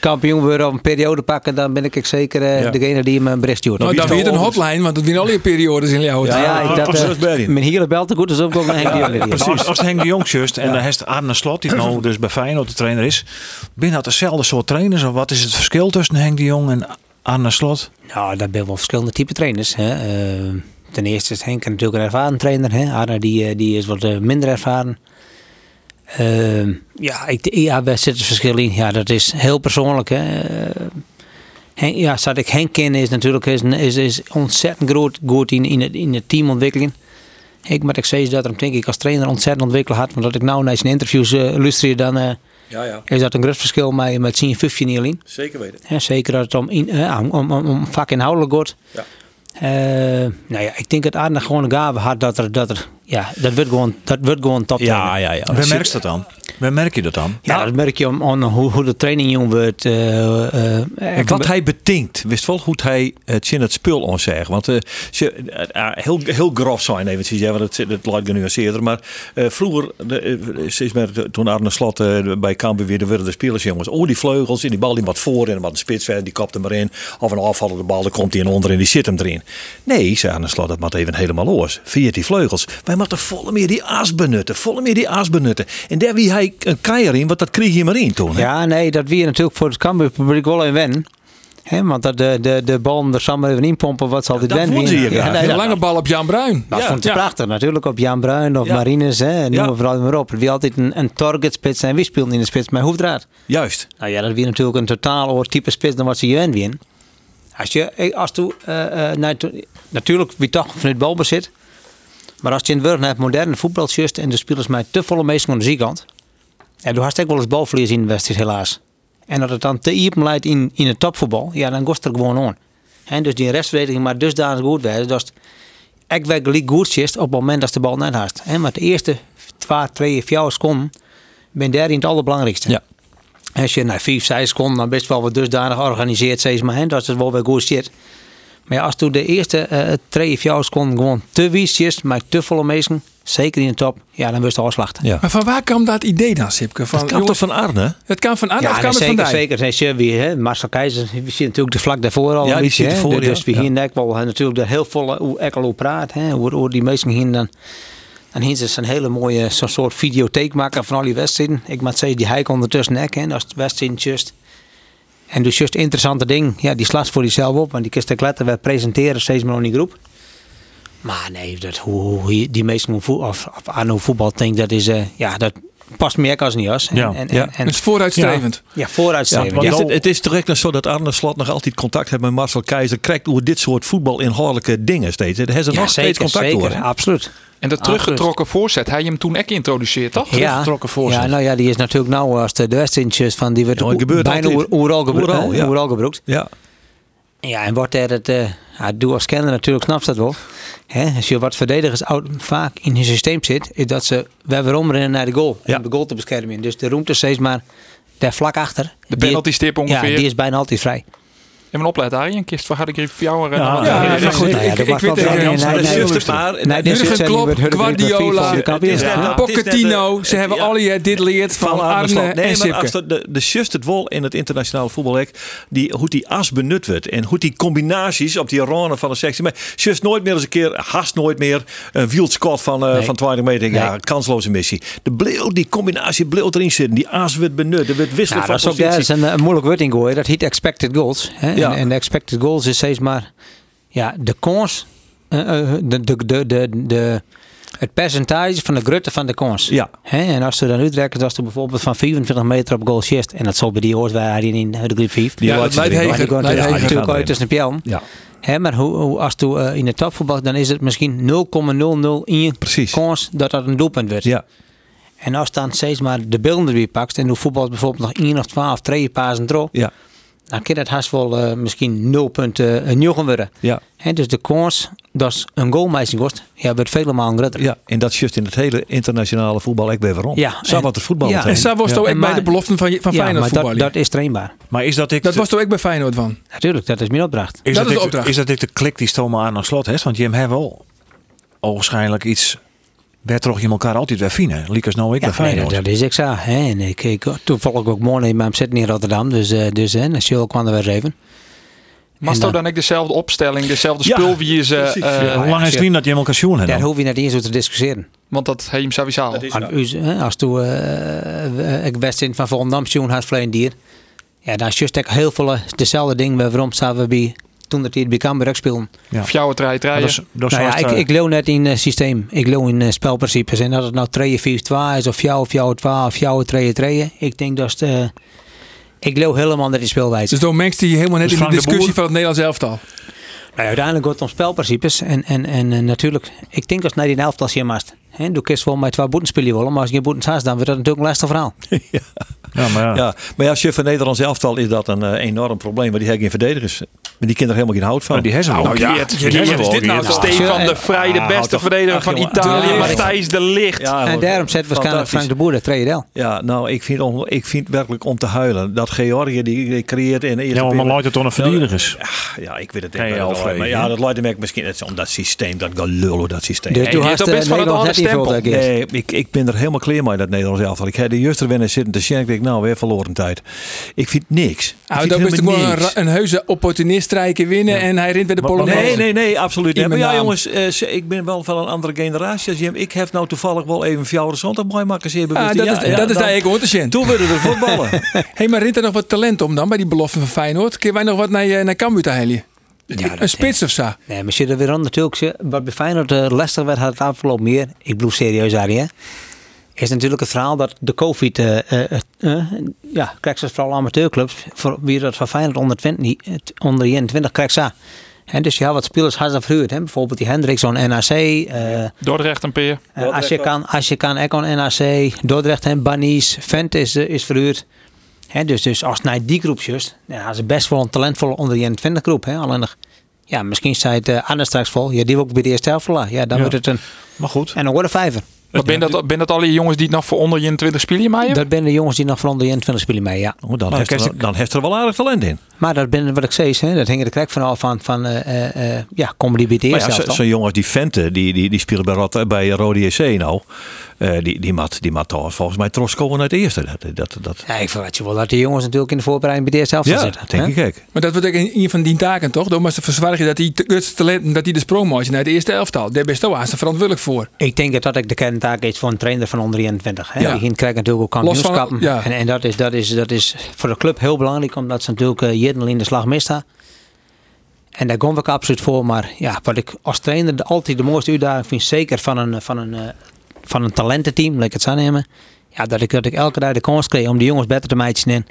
Speaker 5: kampioen wordt of een periode pakken, dan ben ik zeg zeker eh, degene die hem een bericht stuurt.
Speaker 3: Nou, daar weer een hotline, want dat winnen al die periodes in jouw
Speaker 5: Nou ja,
Speaker 3: tijd.
Speaker 5: ik dacht,
Speaker 2: precies,
Speaker 5: eh,
Speaker 2: dat is bij hem.
Speaker 5: mijn hielen belt te goed, dus ook nog naar Henk de Jong weer.
Speaker 1: Als, als Henk de Jong zust en dan heeft Arne Slot, die nou dus bij Feyenoord de trainer is, binnen dat dezelfde soort trainers? Of wat is het verschil tussen Henk de Jong en Arne Slot?
Speaker 5: Nou, dat zijn wel verschillende type trainers. Hè. Eh, ten eerste is Henk natuurlijk een ervaren trainer. Hè. Arne die, eh, die is wat eh, minder ervaren. Ehm, ja, ik, ja, waar zit het verschil in? Ja, dat is heel persoonlijk. Hè. Eh, Henk, ja, zat ik Henk kennen is natuurlijk is, is, is ontzettend groot, goed in, in, het, in het teamontwikkeling. Ik moet ik steeds dat hem denk ik als trainer ontzettend ontwikkeld had. Want dat ik nou naar zijn interviews eh luister, dan eh,
Speaker 2: Ja, ja.
Speaker 5: is dat een groot verschil met, met zien 15 in.
Speaker 2: Zeker weten.
Speaker 5: Hè, zeker dat het om, in, eh, om, om, om, om vakinhoudelijk wordt.
Speaker 2: Ja.
Speaker 5: Eh, nou ja, ik denk dat Arne gewoon een gave had dat er, dat er ja, dat wordt gewoon, dat wordt gewoon top.
Speaker 2: Ja, nou- ja, ja.
Speaker 1: Waar merk je dat dan? Waar merk je dat dan?
Speaker 5: Ja, dat merk je om, om hoe, hoe de training jong wordt. eh, eh,
Speaker 2: En
Speaker 5: echt
Speaker 2: wat hij betinkt, wist wel goed hij het zin het spul onzegt. Want eh, ze, eh, eh, heel, heel grof zijn eventjes, ja, want het, het lijkt genuanceerder. Maar eh, vroeger, de, eh, sinds met, toen Arne Slot eh, bij Kampen weer, er werden de spelers jongens. Oh, die vleugels en die bal die wat voor en wat een spits werd, die kapt hem erin. Of een afvallende bal, daar komt hij in onder en die zit hem erin. Nee, zei Arne Slot, dat moet even helemaal los. Via die vleugels. Wij moeten volle meer die as benutten, volle meer die as benutten. En daar wie hij een keier in, want dat kreeg je maar in toen. hè.
Speaker 5: Ja, nee, dat weer natuurlijk voor het Cambuur-publiek wel een wen. hè want dat de, de, de bal er samen even inpompen, wat zal dit
Speaker 2: dat
Speaker 5: wen
Speaker 2: vonden ze
Speaker 5: winnen?
Speaker 2: hier
Speaker 5: Ja,
Speaker 2: graag.
Speaker 5: nee,
Speaker 3: Een
Speaker 5: dat-
Speaker 3: lange bal op Jan Bruin.
Speaker 5: Dat
Speaker 2: Ja,
Speaker 5: vond ik prachtig. Natuurlijk op Jan Bruin of
Speaker 2: Ja.
Speaker 5: Marines, hè, noem
Speaker 2: Ja.
Speaker 5: maar vooral maar op. Wie altijd een, een targetspits en wie speelde in de spits met Hoefdraad.
Speaker 2: Juist.
Speaker 5: Nou ja, dat weer natuurlijk een totaal oor type spits dan wat ze hier win. Als je, eh, als toe, eh, eh, nou, toe- natuurlijk wie toch vanuit balbezit. Maar als je in het werk naar het moderne voetbal zust en de spelers mij te volle meesting aan de zijkant. En toen had ik wel eens balverlies in de wedstrijd helaas. En dat het dan te iepen leidt in, in het topvoetbal, ja dan kost er gewoon aan. En dus die restverdediging maar dusdanig goed werd, dat ik werkelijk goed zit op het moment dat de bal net haast. Hè, Maar de eerste twee, drie, vier seconden ben daarin het allerbelangrijkste.
Speaker 2: Ja.
Speaker 5: Als je naar vijf, zes seconden dan best wel wat dusdanig georganiseerd is, maar hè, dat is wel weer goed zit. Maar ja, als toen de eerste eh twee, vier seconden gewoon te wies is, maar te volle mensen, zeker in de top, ja dan wordt het afslachten.
Speaker 2: Ja.
Speaker 3: Maar van waar kwam dat idee dan, Nou, Sipke? Van,
Speaker 2: Dat kan toch
Speaker 3: jongens,
Speaker 2: van Arne?
Speaker 3: het kan van Arne
Speaker 5: Ja,
Speaker 3: of
Speaker 5: nee,
Speaker 3: kan het
Speaker 5: zeker,
Speaker 3: van Dijk?
Speaker 5: zeker. Nee, zie je weer, hè. Marcel Keizer, we zien natuurlijk de vlak daarvoor al
Speaker 2: Ja,
Speaker 5: een
Speaker 2: die
Speaker 5: beetje.
Speaker 2: zit
Speaker 5: hè.
Speaker 2: ervoor,
Speaker 5: dus
Speaker 2: ja.
Speaker 5: we
Speaker 2: Ja.
Speaker 5: hier natuurlijk wel natuurlijk de heel volle hoe Ekkel hoe praat, hè, hoe, hoe die mensen hier dan. En hier is een hele mooie zo'n soort videotheek maken van al die wedstrijden. Ik moet zeggen, die hijk ondertussen nek, hè, als het wedstrijden just. En dus just interessante ding, ja, die slaat voor jezelf op, want die kist te kletten, we presenteren steeds meer aan die groep. Maar nee, dat, hoe, hoe hier- die mensen hoe voet- of, of aan hoe voetbal denken, dat is, eh, ja, dat past meer als niet als. En-
Speaker 1: Ja,
Speaker 5: en,
Speaker 2: ja.
Speaker 5: en, en,
Speaker 3: Dat is vooruitstrevend.
Speaker 5: ja, vooruitstrevend.
Speaker 2: Ja,
Speaker 5: ja.
Speaker 2: is het, het is direct nog zo dat Arne Slot nog altijd contact heeft met Marcel Keizer. Krijgt over dit soort voetbalinhoudelijke dingen steeds. Hij heeft er nog steeds contact
Speaker 5: zeker,
Speaker 2: door.
Speaker 5: absoluut.
Speaker 9: En dat teruggetrokken voorzet, hij hem toen ook introduceert, toch? Teruggetrokken voorzet.
Speaker 5: Ja, nou ja, die is natuurlijk nou als de, de wedstrijdjes van die werd
Speaker 2: Ja, het gebeurt
Speaker 5: bijna
Speaker 2: altijd.
Speaker 5: oer- overal gebru-
Speaker 2: Overal,
Speaker 5: eh,
Speaker 2: ja.
Speaker 5: overal gebruikt.
Speaker 2: Ja,
Speaker 5: Ja, en wordt er het, eh ja, doe als kenner natuurlijk snapt dat wel. Hè, als je wat verdedigers oud- vaak in hun systeem zit, is dat ze weer waarom rennen naar de goal.
Speaker 2: Ja.
Speaker 5: Om de goal te beschermen. Dus de roemte steeds maar daar vlak achter.
Speaker 9: De
Speaker 5: Die-
Speaker 9: penaltystip ongeveer.
Speaker 5: Ja, die is bijna altijd vrij.
Speaker 9: Even oplet, Arjen. Kist van Hardegrip voor jou. en-
Speaker 1: Ja,
Speaker 9: Ja,
Speaker 3: ja,
Speaker 9: ja,
Speaker 3: ja,
Speaker 9: goed.
Speaker 3: ja,
Speaker 9: Ik-
Speaker 3: dat
Speaker 9: ik weet
Speaker 3: mag wel
Speaker 9: het-
Speaker 3: zijn,
Speaker 9: eh,
Speaker 2: maar dat
Speaker 5: nee,
Speaker 2: zuster,
Speaker 5: rustig.
Speaker 2: maar-
Speaker 5: Nee, dit
Speaker 3: Jurgen
Speaker 5: is
Speaker 3: Klopp, Guardiola,
Speaker 5: de kampioen.
Speaker 2: is net
Speaker 5: Ja.
Speaker 2: dat- Ah, het is net
Speaker 3: Pochettino,
Speaker 2: de-
Speaker 3: ze hebben
Speaker 2: ja.
Speaker 3: al je dit leert van Arne
Speaker 2: Nee,
Speaker 3: en
Speaker 2: maar als
Speaker 3: Sipke.
Speaker 2: dat de, de just het wol in het internationale voetbalhek. Die, hoe die as benut wordt. En hoe die combinaties op die randen van de sectie. Maar just nooit meer eens een keer. Haast nooit meer. Een wieldskot van, eh
Speaker 5: Nee.
Speaker 2: van 20 meter. Ja,
Speaker 5: Nee.
Speaker 2: kansloze missie. De bleeuw, die combinatie bleeuw erin zitten. Die as wordt benut. Er wordt wisselen
Speaker 5: Ja,
Speaker 2: van
Speaker 5: dat is ook
Speaker 2: positie.
Speaker 5: daar is een, eh, moeilijk word in gooien. Dat heet expected goals. Hè?
Speaker 2: Ja.
Speaker 5: En, en expected goals is steeds maar ja, de kans, eh, eh, de, de, de, de, de, het percentage van de grutte van de kans.
Speaker 2: Ja.
Speaker 5: Hè? En als we dan uitrekenen, als we bijvoorbeeld van 24 meter op goal shift, en dat zal bij die hoort waar hij in eh, de groep 5.
Speaker 2: Ja,
Speaker 3: dat leidt
Speaker 5: Maar die
Speaker 3: Heger,
Speaker 5: gaat
Speaker 3: leidt
Speaker 2: Heger.
Speaker 5: natuurlijk
Speaker 2: Ja.
Speaker 5: uit tussen de pijlen.
Speaker 2: Ja.
Speaker 5: Hè, maar hoe, hoe- als je in de topvoetbal, dan is het misschien 0,001
Speaker 2: Precies.
Speaker 5: kans dat dat een doelpunt wordt.
Speaker 2: Ja.
Speaker 5: En als dan steeds maar de beelden weer pakt en hoe voetbal bijvoorbeeld nog 1 of 12, 3 pasen erop,
Speaker 2: Ja.
Speaker 5: dan kan dat haast wel eh, misschien 0 punten uh, worden.
Speaker 2: Ja.
Speaker 5: Hè, dus de kans dat is een goalmeisje kost, ja, wordt vele malen groter.
Speaker 2: Ja, en dat is juist in het hele internationale voetbal ik ben waarom.
Speaker 5: Ja,
Speaker 2: Zo
Speaker 5: en-
Speaker 2: wat het voetbal
Speaker 5: ja,
Speaker 2: betreft.
Speaker 3: En zo was het
Speaker 5: Ja.
Speaker 3: ook
Speaker 5: En
Speaker 3: bij de
Speaker 5: maar-
Speaker 3: beloften van, je- van
Speaker 5: Ja,
Speaker 3: Feyenoord
Speaker 5: maar dat,
Speaker 3: voetballen.
Speaker 5: dat is trainbaar.
Speaker 1: Maar is dat ik...
Speaker 3: Dat was toch ook bij Feyenoord van.
Speaker 5: Natuurlijk, dat is mijn opdracht.
Speaker 1: is
Speaker 3: dat is de
Speaker 1: ik
Speaker 3: opdracht.
Speaker 1: Is dat ik de klik die Stoma aan slot heeft? Want Jim heeft wel waarschijnlijk iets... Werd toch je elkaar altijd weer fine. Liekers nou ik bij
Speaker 5: Ja, nee, dat,
Speaker 1: Feyenoord.
Speaker 5: dat is ik zo. Hè. En ik, ik, toevallig ook morgen in mijn zitten in Rotterdam, dus, eh dus hè, en Sjoel kwam er weer eens even.
Speaker 9: Masto
Speaker 5: En dan-
Speaker 9: dan ik dezelfde opstelling, dezelfde
Speaker 2: Ja,
Speaker 9: spul wie is. eh,
Speaker 2: precies.
Speaker 9: eh,
Speaker 1: Hoe lang is het niet dat je hem elkaar sjoen hebt
Speaker 5: Daar
Speaker 1: dan?
Speaker 5: hoef je net eens over te discussiëren.
Speaker 9: Want dat heet hem sowieso al.
Speaker 5: Als, u- hè, als toen eh, eh, ik wedstrijd van Volendam Sjoen had vleien dier. Ja, dan is juist ook heel veel eh, dezelfde ding waar- waarom staan we bij toen dat hier bij Cambuur ook speelden.
Speaker 9: Of jouw het rijden,
Speaker 1: Dat
Speaker 9: rijden.
Speaker 1: is- dat is
Speaker 5: Nou ja,
Speaker 1: zoals
Speaker 5: ik,
Speaker 1: het,
Speaker 5: ik loon net in eh, systeem. Ik loon in eh, spelprincipes. En dat het nou 3 4 2 is of jou of jou 2 of jou 3 3 Ik denk dat het, eh, ik loon helemaal naar die speelwijze.
Speaker 3: Dus dan mengt hij helemaal net
Speaker 1: Dus
Speaker 3: in de
Speaker 1: Frank de
Speaker 3: discussie
Speaker 1: Boer?
Speaker 3: van het Nederlands elftal.
Speaker 5: Nou, ja, uiteindelijk wordt het om spelprincipes. En, en, en eh, natuurlijk, ik denk als naar die elftal je maast. Hè, Hè, doe kerst wel met twee boeten spelen willen, maar als je geen boeten hebt, dan wordt dat natuurlijk een lastig verhaal.
Speaker 6: Ja, maar ja.
Speaker 2: Ja, maar ja, als je van Nederlands elftal is dat een eh, enorm probleem. Maar die hebben geen verdedigers. Maar die kinderen helemaal geen hout van.
Speaker 1: Oh, Die hersen wel.
Speaker 9: ja, wat is dit nou
Speaker 5: toch?
Speaker 9: Stefan de Nou, Vrij, de
Speaker 2: Ah,
Speaker 9: beste
Speaker 2: toch.
Speaker 9: verdediger
Speaker 2: Ach,
Speaker 9: van
Speaker 2: jongen.
Speaker 9: Italië.
Speaker 5: Ja, maar ik-
Speaker 9: Matthijs de Licht.
Speaker 2: Ja,
Speaker 5: en
Speaker 2: Ah, hoor.
Speaker 5: daarom zet waarschijnlijk
Speaker 2: Fantastisch.
Speaker 5: Frank de Boer dat tweede deel.
Speaker 2: Ja, nou, ik vind, on- ik vind werkelijk om te huilen. Dat Georgië die, die creëert in de eerste
Speaker 1: Ja, maar
Speaker 2: periode-
Speaker 1: nooit het een verdedigers.
Speaker 2: Ah, Ja, ik weet het
Speaker 1: Geen
Speaker 2: echt wel.
Speaker 1: Alfred,
Speaker 2: Maar
Speaker 1: hè?
Speaker 2: ja, dat leidt me misschien net zo om dat systeem, dat gelul over dat systeem.
Speaker 5: Dus
Speaker 9: die
Speaker 5: toen had
Speaker 9: heeft ook best wel een
Speaker 5: Nederland net
Speaker 9: andere
Speaker 5: niet veel dat keer.
Speaker 2: Nee, ik, ik ben er helemaal clear mee, dat Nederlands elftal. Ik heb de juster wennen zitten te zien. Ik denk, nou, weer verloren tijd. Ik vind niks.
Speaker 3: Ah,
Speaker 2: ik
Speaker 3: dat
Speaker 2: vind
Speaker 3: is
Speaker 2: helemaal
Speaker 3: natuurlijk wel een,
Speaker 2: niks.
Speaker 3: ra- een heuse opportunist strijken winnen en hij rint bij de Polonaise.
Speaker 2: Nee, nee, nee, absoluut niet.
Speaker 3: In
Speaker 2: Maar ja,
Speaker 3: mijn naam.
Speaker 2: jongens, eh, ze- ik ben wel van een andere generatie als Jim. Ik heb nou toevallig wel even Fjouwer Zondag mooi maken. Zeer bewust.
Speaker 3: Ah, dat,
Speaker 2: Ja,
Speaker 3: is,
Speaker 2: ja,
Speaker 3: dat is
Speaker 2: dan-
Speaker 3: eigenlijk onderscheid.
Speaker 2: Toen werden we voetballen.
Speaker 3: Hey, maar rint er nog wat talent om dan bij die belofte van Feyenoord? Kun wij nog wat naar, eh, naar Cambuur te halen? een spits of zo?
Speaker 5: Nee, maar zit er weer aan natuurlijk. ze- Wat bij Feyenoord eh, lastig werd, had het afgelopen meer. Ik bedoel serieus, Arie, hè? Is natuurlijk het verhaal dat de COVID, eh eh, eh, eh, ja, krijgt ze vooral amateurclubs. Voor wie dat van Feyenoord onder 20, niet- het- onder 21 krijgt ze. En dus ja, wat spelers had ze verhuurd. Hè? Bijvoorbeeld die Hendrickson, NAC. eh,
Speaker 9: Dordrecht en Peer.
Speaker 5: eh, als, je kan, als je kan, Econ NAC, Dordrecht en Bannies, Vent is, eh, is verhuurd. Hè, dus, dus als het naar die groep just, dan hadden ze best wel een talentvolle onder 21 groep. Hè, alleen nog, ja, misschien zei het eh Anne straks vol. Ja, die wil ook bij de eerste helft verlaten. Ja, dan wordt het een,
Speaker 1: Maar goed.
Speaker 5: en een orde vijver.
Speaker 9: Maar ben dat, ben dat al die jongens die het nog voor onder je 20 spelen maaien?
Speaker 5: Dat zijn de jongens die nog van onder 21 spelen mee, ja.
Speaker 2: Oh, dan, heeft er, dan heeft er wel aardig talent in.
Speaker 5: Maar dat ben wat ik zei, hè, dat hing er de krek van af van, van eh, eh, eh, ja, komen die bij de
Speaker 2: Maar
Speaker 5: eerste
Speaker 2: ja, zo-
Speaker 5: helft
Speaker 2: zo'n
Speaker 5: dan?
Speaker 2: jongen als die Vente, die, die, die speelde bij, Rot, bij Rode JC nou. eh, die, die mat, die mat toch volgens mij trots komen uit de eerste. Dat, dat, dat,
Speaker 5: Ja, ik verwacht je wel dat die jongens natuurlijk in de voorbereiding bij de eerste helft
Speaker 2: ja,
Speaker 5: gaan zitten.
Speaker 2: dat denk
Speaker 5: hè.
Speaker 2: ik ook.
Speaker 3: Maar dat wordt ook een een van die taken, toch? Door maar te verzwaardigen dat die grootste talenten, dat die de sprong naar de eerste elftal. Daar ben je toch aan ze verantwoordelijk voor.
Speaker 5: Ik denk dat dat ook de kerntaak is van een trainer van onder 21. Hè.
Speaker 3: Ja.
Speaker 5: Je krijgt natuurlijk ook
Speaker 3: Los van-
Speaker 5: kampioenschappen.
Speaker 3: ja.
Speaker 5: En, en dat, is, dat, is, dat is voor de club heel belangrijk, omdat ze natuurlijk eh Jednel in de slag misten. En daar kom ik absoluut voor. Maar ja, wat ik als trainer de- altijd de mooiste uitdaging vind, zeker van een, van een, eh, van een talententeam, laat ik het zo nemen. Ja, dat ik, dat ik elke dag de kans kreeg om die jongens beter te meiden in.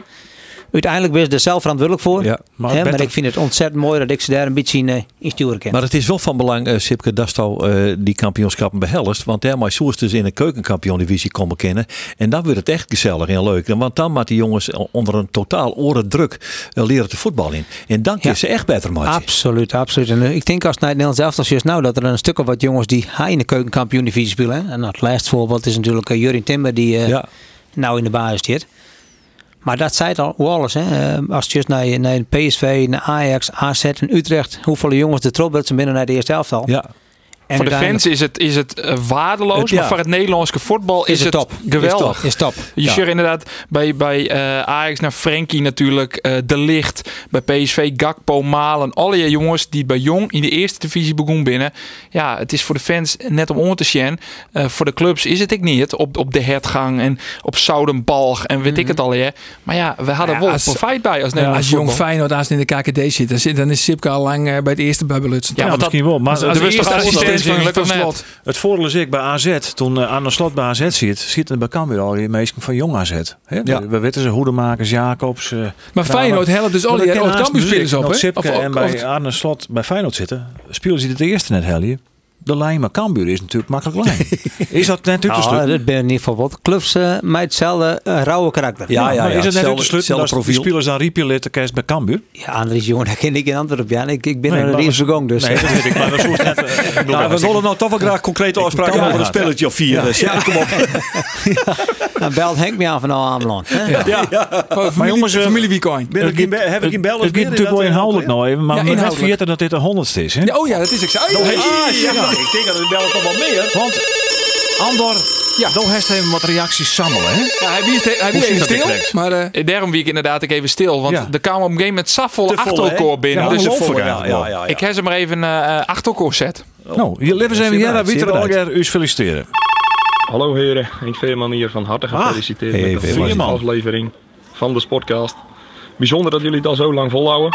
Speaker 5: Uiteindelijk ben je er zelf verantwoordelijk voor.
Speaker 2: Ja,
Speaker 5: maar,
Speaker 1: maar
Speaker 5: hè, maar
Speaker 1: beter-
Speaker 5: ik vind het ontzettend mooi dat ik ze daar een beetje in, eh, in sturen kan.
Speaker 2: Maar het is wel van belang, eh Sipke, dat Stal eh, die kampioenschappen behelst. Want daarmee soest dus in de keukenkampioen-divisie komen kennen. En dan wordt het echt gezellig en leuk. Want dan maakt die jongens onder een totaal orendruk eh, leren te voetbal in. En dan kun je
Speaker 5: Ja.
Speaker 2: ze echt beter maken.
Speaker 5: Absoluut, absoluut. En eh, ik denk als het naar het Nederlands elftal is, nou dat er een stuk of wat jongens die hij in de keukenkampioen divisie spelen. hè. En het laatste voorbeeld is natuurlijk eh, Jurien Timber die eh,
Speaker 2: Ja.
Speaker 5: nou in de basis zit. Maar dat zei het al Wallace. Hè. Eh, Als je eens naar, naar PSV, naar Ajax, AZ en Utrecht, hoeveel jongens de trop dat ze binnen naar de eerste elftal.
Speaker 2: Ja.
Speaker 5: En
Speaker 9: Voor de
Speaker 5: uiteindelijk
Speaker 9: fans is het, is het eh, waardeloos,
Speaker 2: Het- ja.
Speaker 9: maar voor het Nederlandse voetbal is,
Speaker 5: is het top.
Speaker 9: geweldig.
Speaker 5: Is top. Is top.
Speaker 9: Je ziet inderdaad bij, bij eh, Ajax naar Frenkie natuurlijk, eh, De Licht, bij PSV, Gakpo, Malen. Alle je jongens die bij Jong in de eerste divisie begonnen binnen. Ja, het is voor de fans net om on te zien. Eh, voor de clubs is het ik niet op, op de hertgang en op Zoudenbalg en weet
Speaker 10: Mhm.
Speaker 9: ik het al. Hè. Maar ja, we hadden
Speaker 3: Ja,
Speaker 9: wel
Speaker 3: als-
Speaker 9: profijt bij als
Speaker 3: als
Speaker 9: Nederlands
Speaker 3: jong
Speaker 9: voetbal.
Speaker 3: Feyenoord als in de KKD zit, dan, zit, dan is Sipke al lang eh, bij het eerste bij Belutsen.
Speaker 1: Ja,
Speaker 9: want dat-
Speaker 1: misschien wel. Maar
Speaker 9: dat
Speaker 1: het
Speaker 9: was
Speaker 1: eerste
Speaker 9: toch
Speaker 1: assistent
Speaker 9: assistent
Speaker 1: van- van
Speaker 9: van Slot?
Speaker 1: Slot. Het voordeel is ik bij AZ, toen eh, aan de slot bij AZ zit, zitten bij Cambuur al die meesten van jong AZ. Hè?
Speaker 2: Ja.
Speaker 1: We, we weten ze, Hoedemakers, Jacobs. eh,
Speaker 3: Maar
Speaker 1: Kramer.
Speaker 3: Feyenoord helpt dus al
Speaker 1: Maar
Speaker 3: die
Speaker 1: dat ken haast
Speaker 3: oud-Cambuurspelers
Speaker 1: muziek.
Speaker 3: op,
Speaker 1: Nog
Speaker 3: hè?
Speaker 1: Sipke
Speaker 3: Of-
Speaker 1: en
Speaker 3: of-
Speaker 1: bij Arne Slot bij Feyenoord zitten, spelen ze dit de eerste net helje. De lijn met Cambuur is natuurlijk makkelijk lijn. is dat net uit te
Speaker 5: Nou,
Speaker 1: sluiten?
Speaker 5: dat ben je in ieder geval wat. Clubs eh met hetzelfde eh, rauwe karakter.
Speaker 2: Ja, ja,
Speaker 1: maar
Speaker 2: ja,
Speaker 1: is het net uit
Speaker 2: hetzelfde-
Speaker 1: te sluiten
Speaker 2: hetzelfde
Speaker 1: dat die
Speaker 2: profiel.
Speaker 1: spelers dan Riepje lid de kerst bij Cambuur?
Speaker 5: Ja, Andries, jongen, daar ken ik geen antwoord op. Ja, ik, ik ben
Speaker 1: Nee,
Speaker 5: aan de
Speaker 1: maar-
Speaker 5: eerste gang dus.
Speaker 1: Nee, dat weet ik. Maar dat is hoe het net, eh, ik bedoel,
Speaker 2: Nou, we
Speaker 1: als ik-
Speaker 2: willen nou toch wel graag concrete afspraken
Speaker 1: kan
Speaker 2: over een
Speaker 1: maar.
Speaker 2: spelletje of vier. Dus ja, kom op.
Speaker 5: Dan belt Henk me aan van nou Ameland. hè.
Speaker 3: Oh, familie,
Speaker 1: jongens, eh,
Speaker 3: familie weekend.
Speaker 2: Ben ik in-
Speaker 1: Het-
Speaker 2: heb ik in
Speaker 1: het-
Speaker 2: België
Speaker 1: Het
Speaker 2: meer
Speaker 1: gaat natuurlijk wel
Speaker 2: inderdaad,
Speaker 1: inhoudelijk
Speaker 2: ja.
Speaker 1: nou even,
Speaker 3: Ja,
Speaker 1: maar we
Speaker 3: inhoudelijk.
Speaker 1: vergeten dat dit de honderdste is. Hè?
Speaker 3: Ja, oh ja, dat is ik. zei. Oh,
Speaker 2: Ah, ja, ik denk dat het wel toch wel meer.
Speaker 1: Want Andor,
Speaker 3: Ja.
Speaker 1: ja. dan heeft even wat reacties samen, hè?
Speaker 3: Ja, hij wie hij wie
Speaker 1: Hoe
Speaker 3: even
Speaker 1: zit dat
Speaker 3: stil,
Speaker 1: direct?
Speaker 3: maar eh,
Speaker 9: Eh, Daarom wie ik inderdaad ik even stil. Want
Speaker 1: Ja.
Speaker 9: er kwam op een gegeven moment saf volle achterkoor binnen.
Speaker 1: Ja,
Speaker 9: dus
Speaker 1: ongelooflijk
Speaker 9: het-
Speaker 2: Ja, ja, ja.
Speaker 9: Ik heb ze maar even eh achterkoor set.
Speaker 1: Nou, je leven zijn we
Speaker 2: Zie je
Speaker 1: hier,
Speaker 2: eruit,
Speaker 1: weet
Speaker 2: zie
Speaker 1: je
Speaker 2: je eruit.
Speaker 1: wel, u feliciteren.
Speaker 10: Hallo heren, ik Veerman hier van harte gefeliciteerd
Speaker 2: hey,
Speaker 10: met de
Speaker 2: Veerman.
Speaker 10: vierde aflevering van de Sportcast. Bijzonder dat jullie het al zo lang volhouden.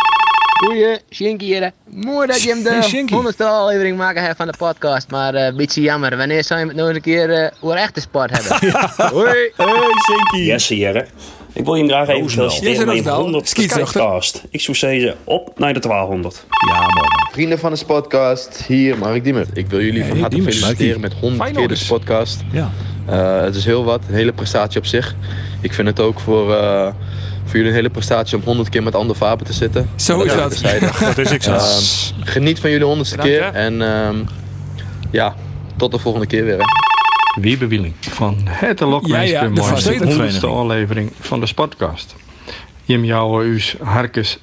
Speaker 11: Goeie, Shinky hier. Mooi dat je hem
Speaker 1: Hey,
Speaker 11: de
Speaker 1: Shinky.
Speaker 11: honderdste aflevering maken hebt van de podcast. Maar eh, een beetje jammer. Wanneer zou je het nog eens een keer eh over echte sport hebben?
Speaker 10: Hoi, hey Sinky.
Speaker 12: Jesse Jerre. Ik wil je graag even
Speaker 3: Jesse
Speaker 12: feliciteren met je
Speaker 3: Roosdaal,
Speaker 12: 100
Speaker 3: schiedsrechter.
Speaker 12: podcast. Ik zou zeggen, op naar de 1200.
Speaker 2: Ja, mooi. man.
Speaker 13: Vrienden van de podcast, hier Mark Diemer. Ik wil jullie van harte
Speaker 1: Diemers,
Speaker 13: feliciteren
Speaker 1: Markie.
Speaker 13: met 100 keer deze podcast.
Speaker 1: Ja.
Speaker 13: Eh, het is heel wat, een hele prestatie op zich. Ik vind het ook voor, eh, voor jullie een hele prestatie om 100 keer met Ander Faber te zitten.
Speaker 3: Zo is dat.
Speaker 13: strijden.
Speaker 3: Dat is ik zo.
Speaker 13: Ehm, geniet van jullie 100ste
Speaker 3: Bedankt,
Speaker 13: keer
Speaker 3: hè.
Speaker 13: en ehm, ja, tot de volgende keer weer.
Speaker 14: Wiebewieling van het
Speaker 3: Ja, ja, de
Speaker 14: Lokmeester
Speaker 3: Verzetensvereniging.
Speaker 14: honderdste aflevering van de Sportcast. Jim jouw u's harkes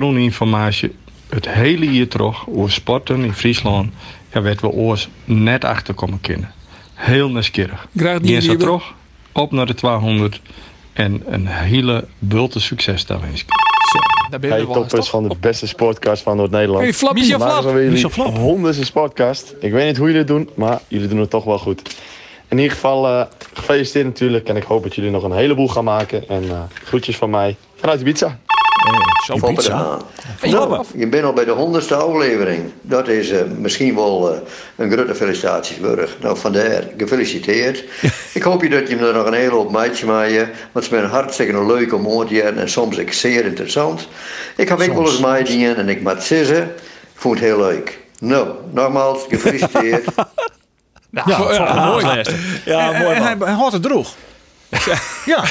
Speaker 14: achtergrondinformatie het hele jaar terug over sporten in Friesland. Ja, werd we oors net achterkomen kunnen. Heel nieuwsgierig.
Speaker 3: Graag die
Speaker 14: Geen zo
Speaker 3: Wiebe.
Speaker 14: terug, op naar de 200 en een hele bulte succes daar wens ik.
Speaker 3: Daar ben je
Speaker 15: Hij
Speaker 3: wel eens,
Speaker 15: toppers
Speaker 3: toch?
Speaker 15: van de beste sportcast van Noord-Nederland.
Speaker 3: Hey, Flap, Michel
Speaker 15: Vandaag
Speaker 3: Flap.
Speaker 15: zijn we jullie
Speaker 3: Michel Flap.
Speaker 15: honderdste sportcast. Ik weet niet hoe jullie het doen, maar jullie doen het toch wel goed. In ieder geval, eh, gefeliciteerd natuurlijk. En ik hoop dat jullie nog een heleboel gaan maken. En eh, groetjes van mij vanuit Ibiza.
Speaker 16: Zo pizza. Nou, je bent al bij de honderdste aflevering. Dat is eh, misschien wel eh, een grote felicitatie, Burg. Nou, vandaar, gefeliciteerd. ik hoop je dat je me er nog een hele hoop maatje maakt. Want ze zijn hartstikke leuk om aan te jaren en soms ook zeer interessant. Ik heb ook wel eens maaidingen en ik maat zissen. Ik vond het heel leuk. Nou, nogmaals, gefeliciteerd.
Speaker 1: Ja,
Speaker 16: voor- ja,
Speaker 1: Ah, mooi.
Speaker 16: mooi.
Speaker 1: Ja, mooi. En, hij, hij had het droeg. Ja. ja.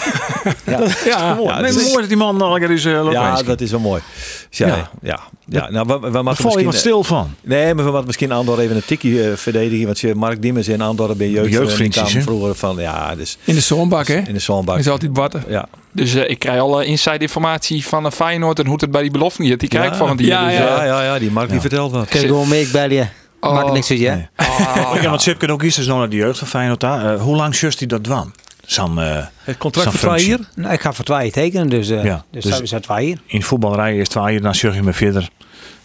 Speaker 1: Dat is
Speaker 2: Ja.
Speaker 1: mooi.
Speaker 2: Ja,
Speaker 1: Nee,
Speaker 2: dat is-
Speaker 1: mooi dat die man nog lekker is. eh,
Speaker 2: Ja,
Speaker 1: Lokmeester.
Speaker 2: dat is wel mooi. Dus ja,
Speaker 1: Ja.
Speaker 2: ja. ja, Nou, we, we
Speaker 1: val
Speaker 2: maken
Speaker 1: je
Speaker 2: misschien-
Speaker 1: wat stil van.
Speaker 2: Nee, maar we moeten misschien Andor even een tikje eh, verdedigen. Want je- Mark Diemers en Andor bij jeugd. eh,
Speaker 9: Jeugdvriendjes,
Speaker 2: kwamen
Speaker 9: hè?
Speaker 2: vroeger van, ja, dus...
Speaker 3: In de zoonbak, hè?
Speaker 2: In de zonbak.
Speaker 3: Is altijd watten.
Speaker 2: Ja.
Speaker 9: Dus eh, ik krijg alle inside informatie van eh, Feyenoord en hoe het bij die belofte niet. Die krijg ik
Speaker 2: Ja.
Speaker 9: van die.
Speaker 2: Ja,
Speaker 9: dus,
Speaker 2: ja,
Speaker 9: eh,
Speaker 2: ja, ja, die Mark die vertelt wat.
Speaker 5: Kijk gewoon mee, ik bel je.
Speaker 1: Oh.
Speaker 5: Maakt niks uit, ja?
Speaker 1: Ik heb wat Sip kunnen ook eerst eens nog naar de jeugd van Feyenoord. daar. Eh, hoe lang zust hij dat dwan? Sam, eh, Sam Frans.
Speaker 5: Nou, ik ga voor twee tekenen, dus, eh
Speaker 1: Ja,
Speaker 5: dus,
Speaker 1: dus-
Speaker 5: dus zijn twee hier.
Speaker 1: In de voetballerij is twee jaar, dan zucht je me verder.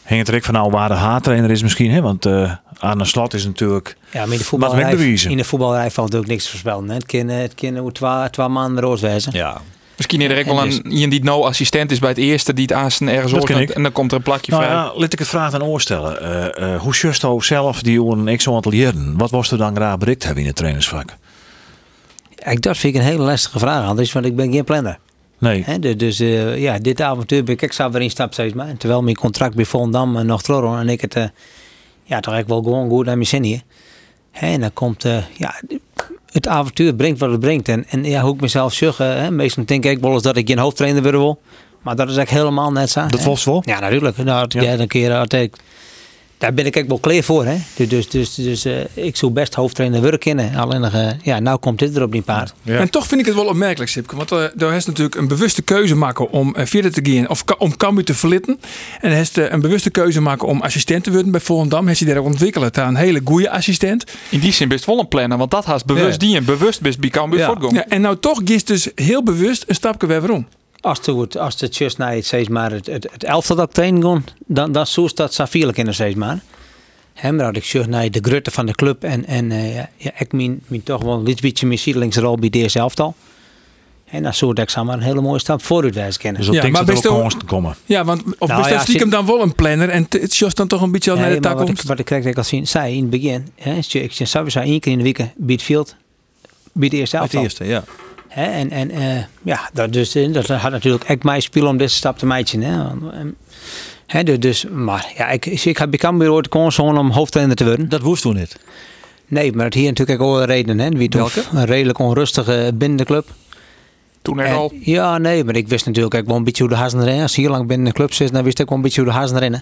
Speaker 1: Hing het Rick van nou waar de haattrainer is misschien, hè? Want eh Arne Slot is natuurlijk...
Speaker 5: Ja, maar in de
Speaker 1: Wat
Speaker 5: voetbalrij,
Speaker 1: wegbewezen.
Speaker 5: in de voetbalrij valt ook niks te voorspellen. Hè? Het kunnen het kan hoe twee, twee maanden roos wezen.
Speaker 2: Ja.
Speaker 9: Misschien is er ook
Speaker 5: En
Speaker 9: wel
Speaker 5: dus-
Speaker 9: een iemand die nou assistent is bij het eerste die het aanstaan ergens
Speaker 1: Dat
Speaker 9: hoort
Speaker 1: ken
Speaker 9: en-
Speaker 1: ik.
Speaker 9: en dan komt er een plakje
Speaker 1: Nou
Speaker 9: vrij.
Speaker 1: ja, laat ik het vraag aan oorstellen. Eh, eh, hoe zust hij zelf die jongen ik zo aan het leren? Wat was er dan graag bereikt hebben in het trainersvak?
Speaker 5: Ik, dat vind ik een hele lastige vraag, Anders, want ik ben geen planner.
Speaker 1: Nee.
Speaker 5: Hè, du- dus eh, ja, dit avontuur ben ik ik zou weer in stap steeds maar. Terwijl mijn contract bij Volendam eh, nog door en ik het eh, ja, toch echt wel gewoon goed naar mijn zin hier. Hè, en dan komt eh, ja, het avontuur brengt wat het brengt. En, en ja, hoe ik mezelf zeg, eh, hè, meestal denk ik wel eens dat ik geen hoofdtrainer wil wil. Maar dat is eigenlijk helemaal net zo.
Speaker 1: Dat
Speaker 5: hè.
Speaker 1: was wel?
Speaker 5: Ja, natuurlijk. Nou, dat-
Speaker 1: Ja.
Speaker 5: ja. dan kun je dat altijd- daar ben ik ook wel klaar voor. Hè? Dus, dus, dus, dus eh, ik zou best hoofdtrainer willen kennen. Alleen, nog, eh, ja, nou komt dit er op die paard.
Speaker 3: En toch vind ik het wel opmerkelijk, Sipke. Want eh daar is natuurlijk een bewuste keuze maken om eh, verder te gaan. Of ka- om Cambuur te verlitten. En hij is eh, een bewuste keuze maken om assistent te worden bij Volendam. Hij is daar ontwikkelen. Daar een hele goede assistent.
Speaker 9: In die zin best wel een planner, want dat haast bewust
Speaker 3: Ja.
Speaker 9: die en bewust best bij Cambuur voortgaan.
Speaker 3: Ja, en nou toch gist dus heel bewust een stapje weer waarom.
Speaker 5: Als het, wordt- als het just naar het, steeds maar het, het, het elftal dat trainen kon, dan, dan zoest dat Saviel in steeds maar. Hè, maar had ik zucht naar de grutte van de club en, en eh, ja, ja, ik min, min toch wel een iets beetje mijn ziedelingsrol bij deze elftal. En dan zou ik maar een hele mooie stap vooruit wijzen kennen.
Speaker 1: Dus op
Speaker 3: Ja,
Speaker 1: denk
Speaker 3: maar
Speaker 1: dat er ook
Speaker 3: best wel-
Speaker 1: kansen komen.
Speaker 3: Ja, want of
Speaker 5: Nou
Speaker 3: best
Speaker 5: ja,
Speaker 3: dat stiekem
Speaker 5: zit-
Speaker 3: dan wel een planner. En t- het just dan toch een beetje al naar
Speaker 5: Nee,
Speaker 3: de
Speaker 5: maar wat ik-
Speaker 3: toekomst.
Speaker 5: Wat ik krijg, ik al zien, zei in het begin, hè, is je- ik zeg sowieso één keer in de week eh, bij het veld, bij de eerste
Speaker 2: Het
Speaker 5: elftal.
Speaker 2: eerste, ja.
Speaker 5: Hè, en en eh, ja, dat, dus, eh, dat had natuurlijk echt mijn spelen om deze stap te meiden. Hè. Want, ehm, hè, du- dus, maar ja, ik, ik heb bij Cambuur ooit de kans gehad om hoofdtrainer te worden.
Speaker 2: Dat woest toen niet.
Speaker 5: Nee, maar het hier natuurlijk ook wel een reden. Hè. Wie toen
Speaker 2: Welke?
Speaker 5: Een redelijk onrustige binnenclub.
Speaker 9: Toen
Speaker 5: En- Ja, nee, maar ik wist natuurlijk ook wel een beetje hoe de hazen erin. Als je hier lang binnen de club zit, dan wist ik wel een beetje hoe de hazen erin.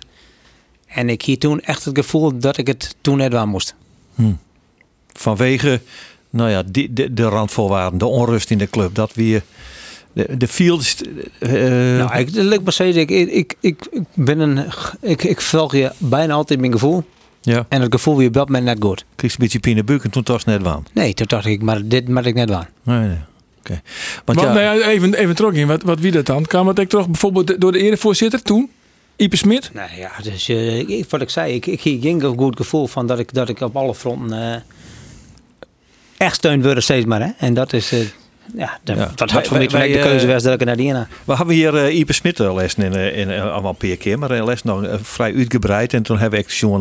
Speaker 5: En ik hier toen echt het gevoel dat ik het toen net aan moest.
Speaker 2: Vanwege, nou ja, die, de, de randvoorwaarden, de onrust in de club. Dat weer... De, de fields... eh,
Speaker 5: nou, ik, dat lukt me steeds. Ik, ik, ik, ik, ik ben een, ik, ik volg je bijna altijd mijn gevoel.
Speaker 2: Ja.
Speaker 5: En het gevoel weer op dat moment net goed.
Speaker 2: Kreeg een beetje pijn in de buik en toen was het net warm.
Speaker 5: Nee, toen dacht ik, maar dit maak ik net waar.
Speaker 2: Nee, nee. Oké. Want
Speaker 3: Want
Speaker 9: eh,
Speaker 2: ja,
Speaker 3: nou ja, even, even terug in, wat, wat wie dat dan? Kwam het ook terug bijvoorbeeld door de erevoorzitter toen? Ipe Smit?
Speaker 5: Nou ja, dus eh, ik- wat ik zei, ik, ik ging ging een goed gevoel van dat ik, dat ik op alle fronten eh, echt steun word steeds maar. Hè? En dat is, eh, Ja, dat, dat had voor mij gelijk de keuze was dat ik naar die ene.
Speaker 2: We hebben hier eh, Ipe Smit eh, les in, eh, in, eh, allemaal een paar keer, maar hij les nog eh, vrij uitgebreid. En toen hebben we echt jongen,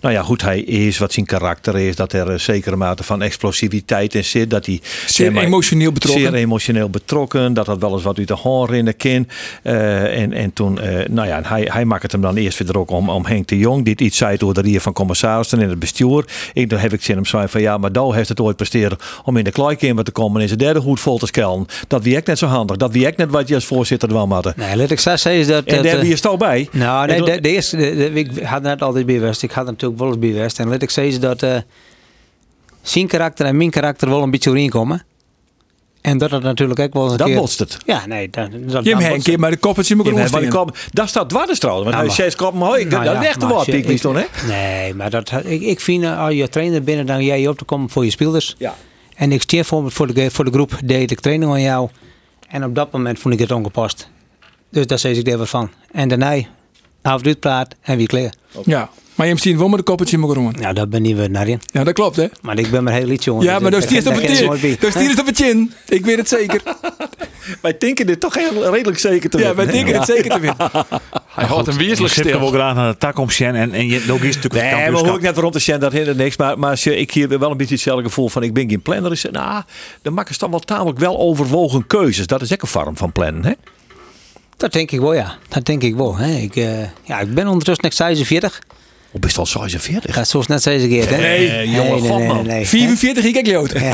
Speaker 2: nou ja, goed, hij is wat zijn karakter is, dat er een zekere mate van explosiviteit in zit, dat hij
Speaker 3: Zeer
Speaker 2: zeg maar,
Speaker 3: emotioneel betrokken.
Speaker 2: zeer emotioneel betrokken, dat dat wel eens wat uit de hand rinnen kan. Eh, en, en toen, eh, nou ja, en hij, hij maakt het hem dan eerst weer ook om, om Henk de Jong, die iets zei door de rier van commissarissen in het bestuur. Ik, dan heb ik zin om zijn van ja, maar Douw heeft het ooit presteren om in de kleikamer te komen en in zijn derde goed vol te skelden. Dat wie ik net zo handig, dat wie ik net wat je als voorzitter wel hadden.
Speaker 5: Nee, laat ik zo zeggen is dat...
Speaker 2: En
Speaker 5: dat,
Speaker 2: daar
Speaker 5: eh,
Speaker 2: wie je stal bij.
Speaker 5: Nou, nee,
Speaker 2: En toen-
Speaker 5: de, de eerste, de- de- ik had net altijd bewust. Ik had natuurlijk wel eens bewust. En laat ik zeggen dat eh, zijn karakter en mijn karakter wel een beetje overeenkomen. En dat het natuurlijk ook wel eens een
Speaker 2: Dat
Speaker 5: keer...
Speaker 2: botst het.
Speaker 5: Ja, nee. Dat, dat,
Speaker 3: Jim Henk, Jim, maar de koppeltje moet ik
Speaker 2: Ja, maar
Speaker 3: rondsteken.
Speaker 2: die kop- daar staat dwarres trouwens, want
Speaker 5: Nou,
Speaker 2: hij
Speaker 5: maar-
Speaker 2: zes koppen hoog. Ik
Speaker 5: Nou
Speaker 2: dat
Speaker 5: ja,
Speaker 2: legt er
Speaker 5: maar
Speaker 2: wat,
Speaker 5: shit,
Speaker 2: ik wist toch, hè?
Speaker 5: Nee, maar dat, ik, ik vind eh, als je trainer bent, dan jij op te komen voor je spelers. En ik steer voor, voor, de, voor de groep, deed ik training aan jou. En op dat moment vond ik het ongepast. Dus daar zei ik daar wat van. En daarna, avond praat en weer klaar.
Speaker 3: Ja, maar je hebt zien wel met de koppeltje moet ik rond.
Speaker 5: Nou, dat ben ik weer naar in.
Speaker 3: Ja, dat klopt, hè?
Speaker 5: Maar ik ben maar heel iets, jongen.
Speaker 3: Ja, maar dat is eerst op het chin. Dat is eerst op het chin. Ik weet het zeker.
Speaker 2: Wij denken dit toch heel, redelijk zeker te
Speaker 3: Ja,
Speaker 2: winnen,
Speaker 3: wij
Speaker 2: hè?
Speaker 3: denken het zeker te winnen.
Speaker 8: Hij houdt een
Speaker 1: Je
Speaker 8: weerselijk
Speaker 1: zit er
Speaker 8: stil.
Speaker 1: wel graag naar de tak om Sjen. En, en je, ook is het natuurlijk
Speaker 2: Nee,
Speaker 1: een
Speaker 2: maar hoor ik
Speaker 1: kampioenschap.
Speaker 2: net waarom te zeggen, dat hindert niks. Maar, maar als je- ik heb wel een beetje hetzelfde gevoel van ik ben geen planner. Is, nou, de makkers dan wel tamelijk wel overwogen keuzes. Dat is ook een vorm van plannen, hè?
Speaker 5: Dat denk ik wel, ja. Dat denk ik wel. Hè. Ik, eh, ja, ik ben ondertussen net 46.
Speaker 2: Hoe best al 46?
Speaker 5: Dat is zoals net 46, hè?
Speaker 2: Nee, jongen, god, man.
Speaker 3: 44, ik kijk jood.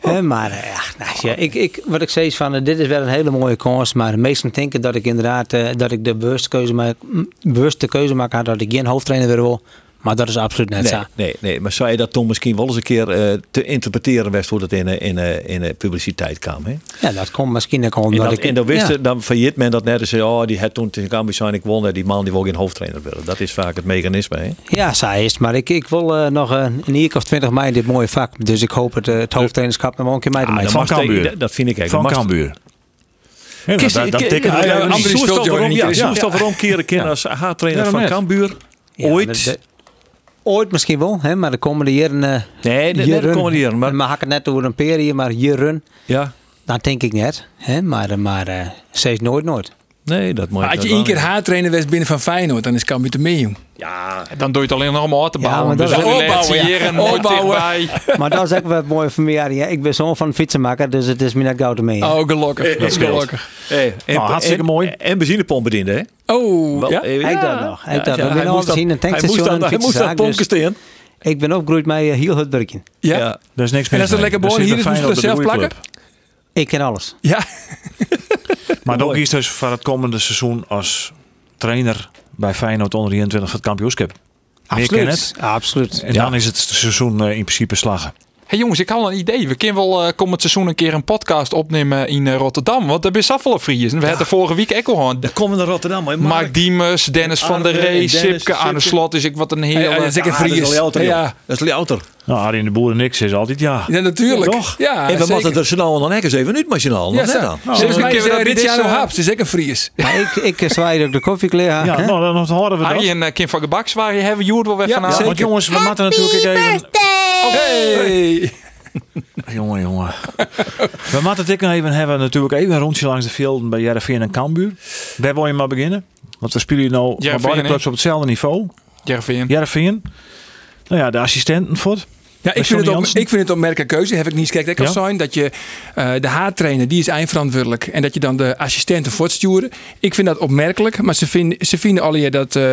Speaker 5: Hè, maar eh, ja, nou, ja, ik, ik, wat ik zei is van, eh, dit is wel een hele mooie kans, maar de meesten denken dat ik inderdaad eh, dat ik de bewuste keuze maak, mm, bewuste keuze maak had dat ik geen hoofdtrainer weer wil. Maar dat is absoluut net
Speaker 2: Nee,
Speaker 5: zo.
Speaker 2: nee, nee, maar zou je dat dan misschien wel eens een keer eh, te interpreteren was hoe dat in de in, eh, in, eh, publiciteit kwam? Hè?
Speaker 5: Ja, dat komt misschien ook omdat
Speaker 2: En, dat,
Speaker 5: ik...
Speaker 2: en dan wist
Speaker 5: ja.
Speaker 2: je- dan failliet men dat net en zei, oh, die had toen tegen Ambition ik won, eh, die man die wil geen hoofdtrainer willen. Dat is vaak het mechanisme. Hè?
Speaker 5: Ja, zij is het, Maar ik, ik wil eh, nog een een jaar of twintig mei dit mooie vak. Dus ik hoop het, eh, het hoofdtrainerschap nog wel een keer mee te
Speaker 2: Ah,
Speaker 5: maken.
Speaker 2: dan mag hij- dat- dat vind ik echt.
Speaker 1: Van
Speaker 2: Dan mag-
Speaker 1: Cambuur. Ja,
Speaker 2: Kist-
Speaker 1: dat, dat
Speaker 2: ki-
Speaker 1: tikken
Speaker 2: ja,
Speaker 1: we
Speaker 2: ja,
Speaker 1: even
Speaker 2: Andries
Speaker 1: niet.
Speaker 2: Soest
Speaker 1: Soest
Speaker 2: over om-
Speaker 1: over-
Speaker 2: ja,
Speaker 1: ja.
Speaker 2: Soest over omkeren keer als H-trainer
Speaker 1: Ja,
Speaker 2: van
Speaker 1: net.
Speaker 2: Cambuur.
Speaker 5: Ja,
Speaker 2: Ooit.
Speaker 5: dat- Ooit misschien wel, hè, maar de komende jaren. eh,
Speaker 2: nee, de
Speaker 5: jaren.
Speaker 2: komende jaren,
Speaker 5: Maar, hak het net over een periode, maar jaren.
Speaker 2: Ja.
Speaker 5: Dat denk ik net. Hè, maar eh, maar eh, steeds nooit, nooit.
Speaker 2: Nee, dat moet
Speaker 3: Maar als je één keer haartrainer was binnen van Feyenoord, dan is Cambuur te meer, jong.
Speaker 2: Ja,
Speaker 8: Dan doe je het alleen nog om uit te
Speaker 5: Ja,
Speaker 8: bouwen.
Speaker 5: maar dat-
Speaker 8: dus
Speaker 5: Ja, opbouwen,
Speaker 8: relatie
Speaker 5: ja.
Speaker 8: hier en nooit
Speaker 3: Opbouwen.
Speaker 8: dichtbij.
Speaker 5: maar dat is ook wel mooi van mij. Ja. Ik ben zoon van een fietsenmaker, dus het is me net gauw te mee. hè.
Speaker 3: Oh, gelukkig.
Speaker 2: Dat scheelt.
Speaker 3: gelukkig.
Speaker 2: Hey, en,
Speaker 5: Nou, hartstikke
Speaker 2: en-
Speaker 5: mooi.
Speaker 2: En benzinepomp bediende, hè?
Speaker 3: Oh,
Speaker 2: Wel,
Speaker 3: ja.
Speaker 2: eh,
Speaker 5: Hij
Speaker 2: ja.
Speaker 5: dat nog. Hij
Speaker 2: Ja,
Speaker 5: dat.
Speaker 2: ja,
Speaker 5: nog. Ik
Speaker 2: hij
Speaker 5: ben
Speaker 2: moest
Speaker 5: altijd
Speaker 2: dat-
Speaker 5: in een
Speaker 2: hij moest
Speaker 5: tankstation
Speaker 2: dat-
Speaker 5: en een
Speaker 2: Hij moest dat
Speaker 5: fietsenzaak.
Speaker 2: pompjes
Speaker 5: Dus
Speaker 2: in.
Speaker 5: ik ben opgegroeid met eh, heel het werkje.
Speaker 3: Ja.
Speaker 2: Ja.
Speaker 1: Daar is niks
Speaker 3: En
Speaker 1: mis
Speaker 3: als het
Speaker 1: mee.
Speaker 3: lekker
Speaker 1: Dat
Speaker 3: born
Speaker 1: zit
Speaker 3: hier
Speaker 1: bij
Speaker 3: is, moet je
Speaker 1: Feyenoord
Speaker 3: dat
Speaker 1: op de
Speaker 3: zelf plakken?
Speaker 1: roeiclub.
Speaker 5: Ik ken alles.
Speaker 3: Ja.
Speaker 1: Maar ook is dus voor het komende seizoen als trainer bij Feyenoord onder 21 van het kampioenschap. Meer ken het.
Speaker 5: Absoluut. Absoluut.
Speaker 1: En dan is het seizoen eh, in principe slagen.
Speaker 8: Hey jongens, ik had al een idee. We kunnen wel eh, komend seizoen een keer een podcast opnemen in eh, Rotterdam. Want daar ben Saffelen Fries. En we hadden vorige week ook al gewoon.
Speaker 2: Dan komen we naar Rotterdam. hè, Mark.
Speaker 8: Mark Diemers, Dennis van der
Speaker 2: Arne,
Speaker 8: Ree,
Speaker 2: Dennis,
Speaker 8: Sipke aan de
Speaker 2: Sipke.
Speaker 8: slot. Is ik wat een
Speaker 3: Hey,
Speaker 8: hele.
Speaker 3: hey, zeg-
Speaker 2: Ah, dat is
Speaker 3: Fries.
Speaker 2: al louter,
Speaker 3: Ja.
Speaker 2: joh. Dat is louter.
Speaker 1: Nou, Arie de Boer en niks is altijd ja.
Speaker 3: Ja, natuurlijk.
Speaker 2: Toch?
Speaker 3: Ja,
Speaker 2: en we
Speaker 3: zeker.
Speaker 2: moeten er snel dan eens even uit, maar snel.
Speaker 3: Ja,
Speaker 2: Wat net dan?
Speaker 3: zo. Volgens mij is eh, Ricciardo Haps, is ook een Fries.
Speaker 5: Maar ik, ik eh, zwaai ook de koffie klaar.
Speaker 1: Ja,
Speaker 5: hè.
Speaker 1: nou, dan dan horen we dat.
Speaker 8: Arjen en eh, Kim van Gebaks waren hebben Joerd wel weer
Speaker 3: Ja,
Speaker 8: vanavond.
Speaker 3: zeker.
Speaker 1: Want jongens, we moeten natuurlijk even...
Speaker 3: Hey!
Speaker 1: Jongen, jongen. we moeten het ook even hebben natuurlijk even een rondje langs de velden bij Jereveen en Cambuur. Waar wil je maar beginnen? Want we spelen nu bij
Speaker 8: Heerenveen,
Speaker 1: beide
Speaker 8: hè?
Speaker 1: clubs op hetzelfde niveau.
Speaker 8: Jervin.
Speaker 1: Jereveen. Nou ja, de assistenten voor.
Speaker 3: Ja, ik vind,
Speaker 1: Sonny
Speaker 3: het op,
Speaker 1: Jansen?
Speaker 3: ik vind het opmerkelijke keuze. Heb ik niet kijk, dat kan
Speaker 1: Ja.
Speaker 3: zijn dat je eh, de haartrainer, die is eindverantwoordelijk. En dat je dan de assistenten voortsturen. Ik vind dat opmerkelijk. Maar ze, vinden ze vinden alle dat, eh,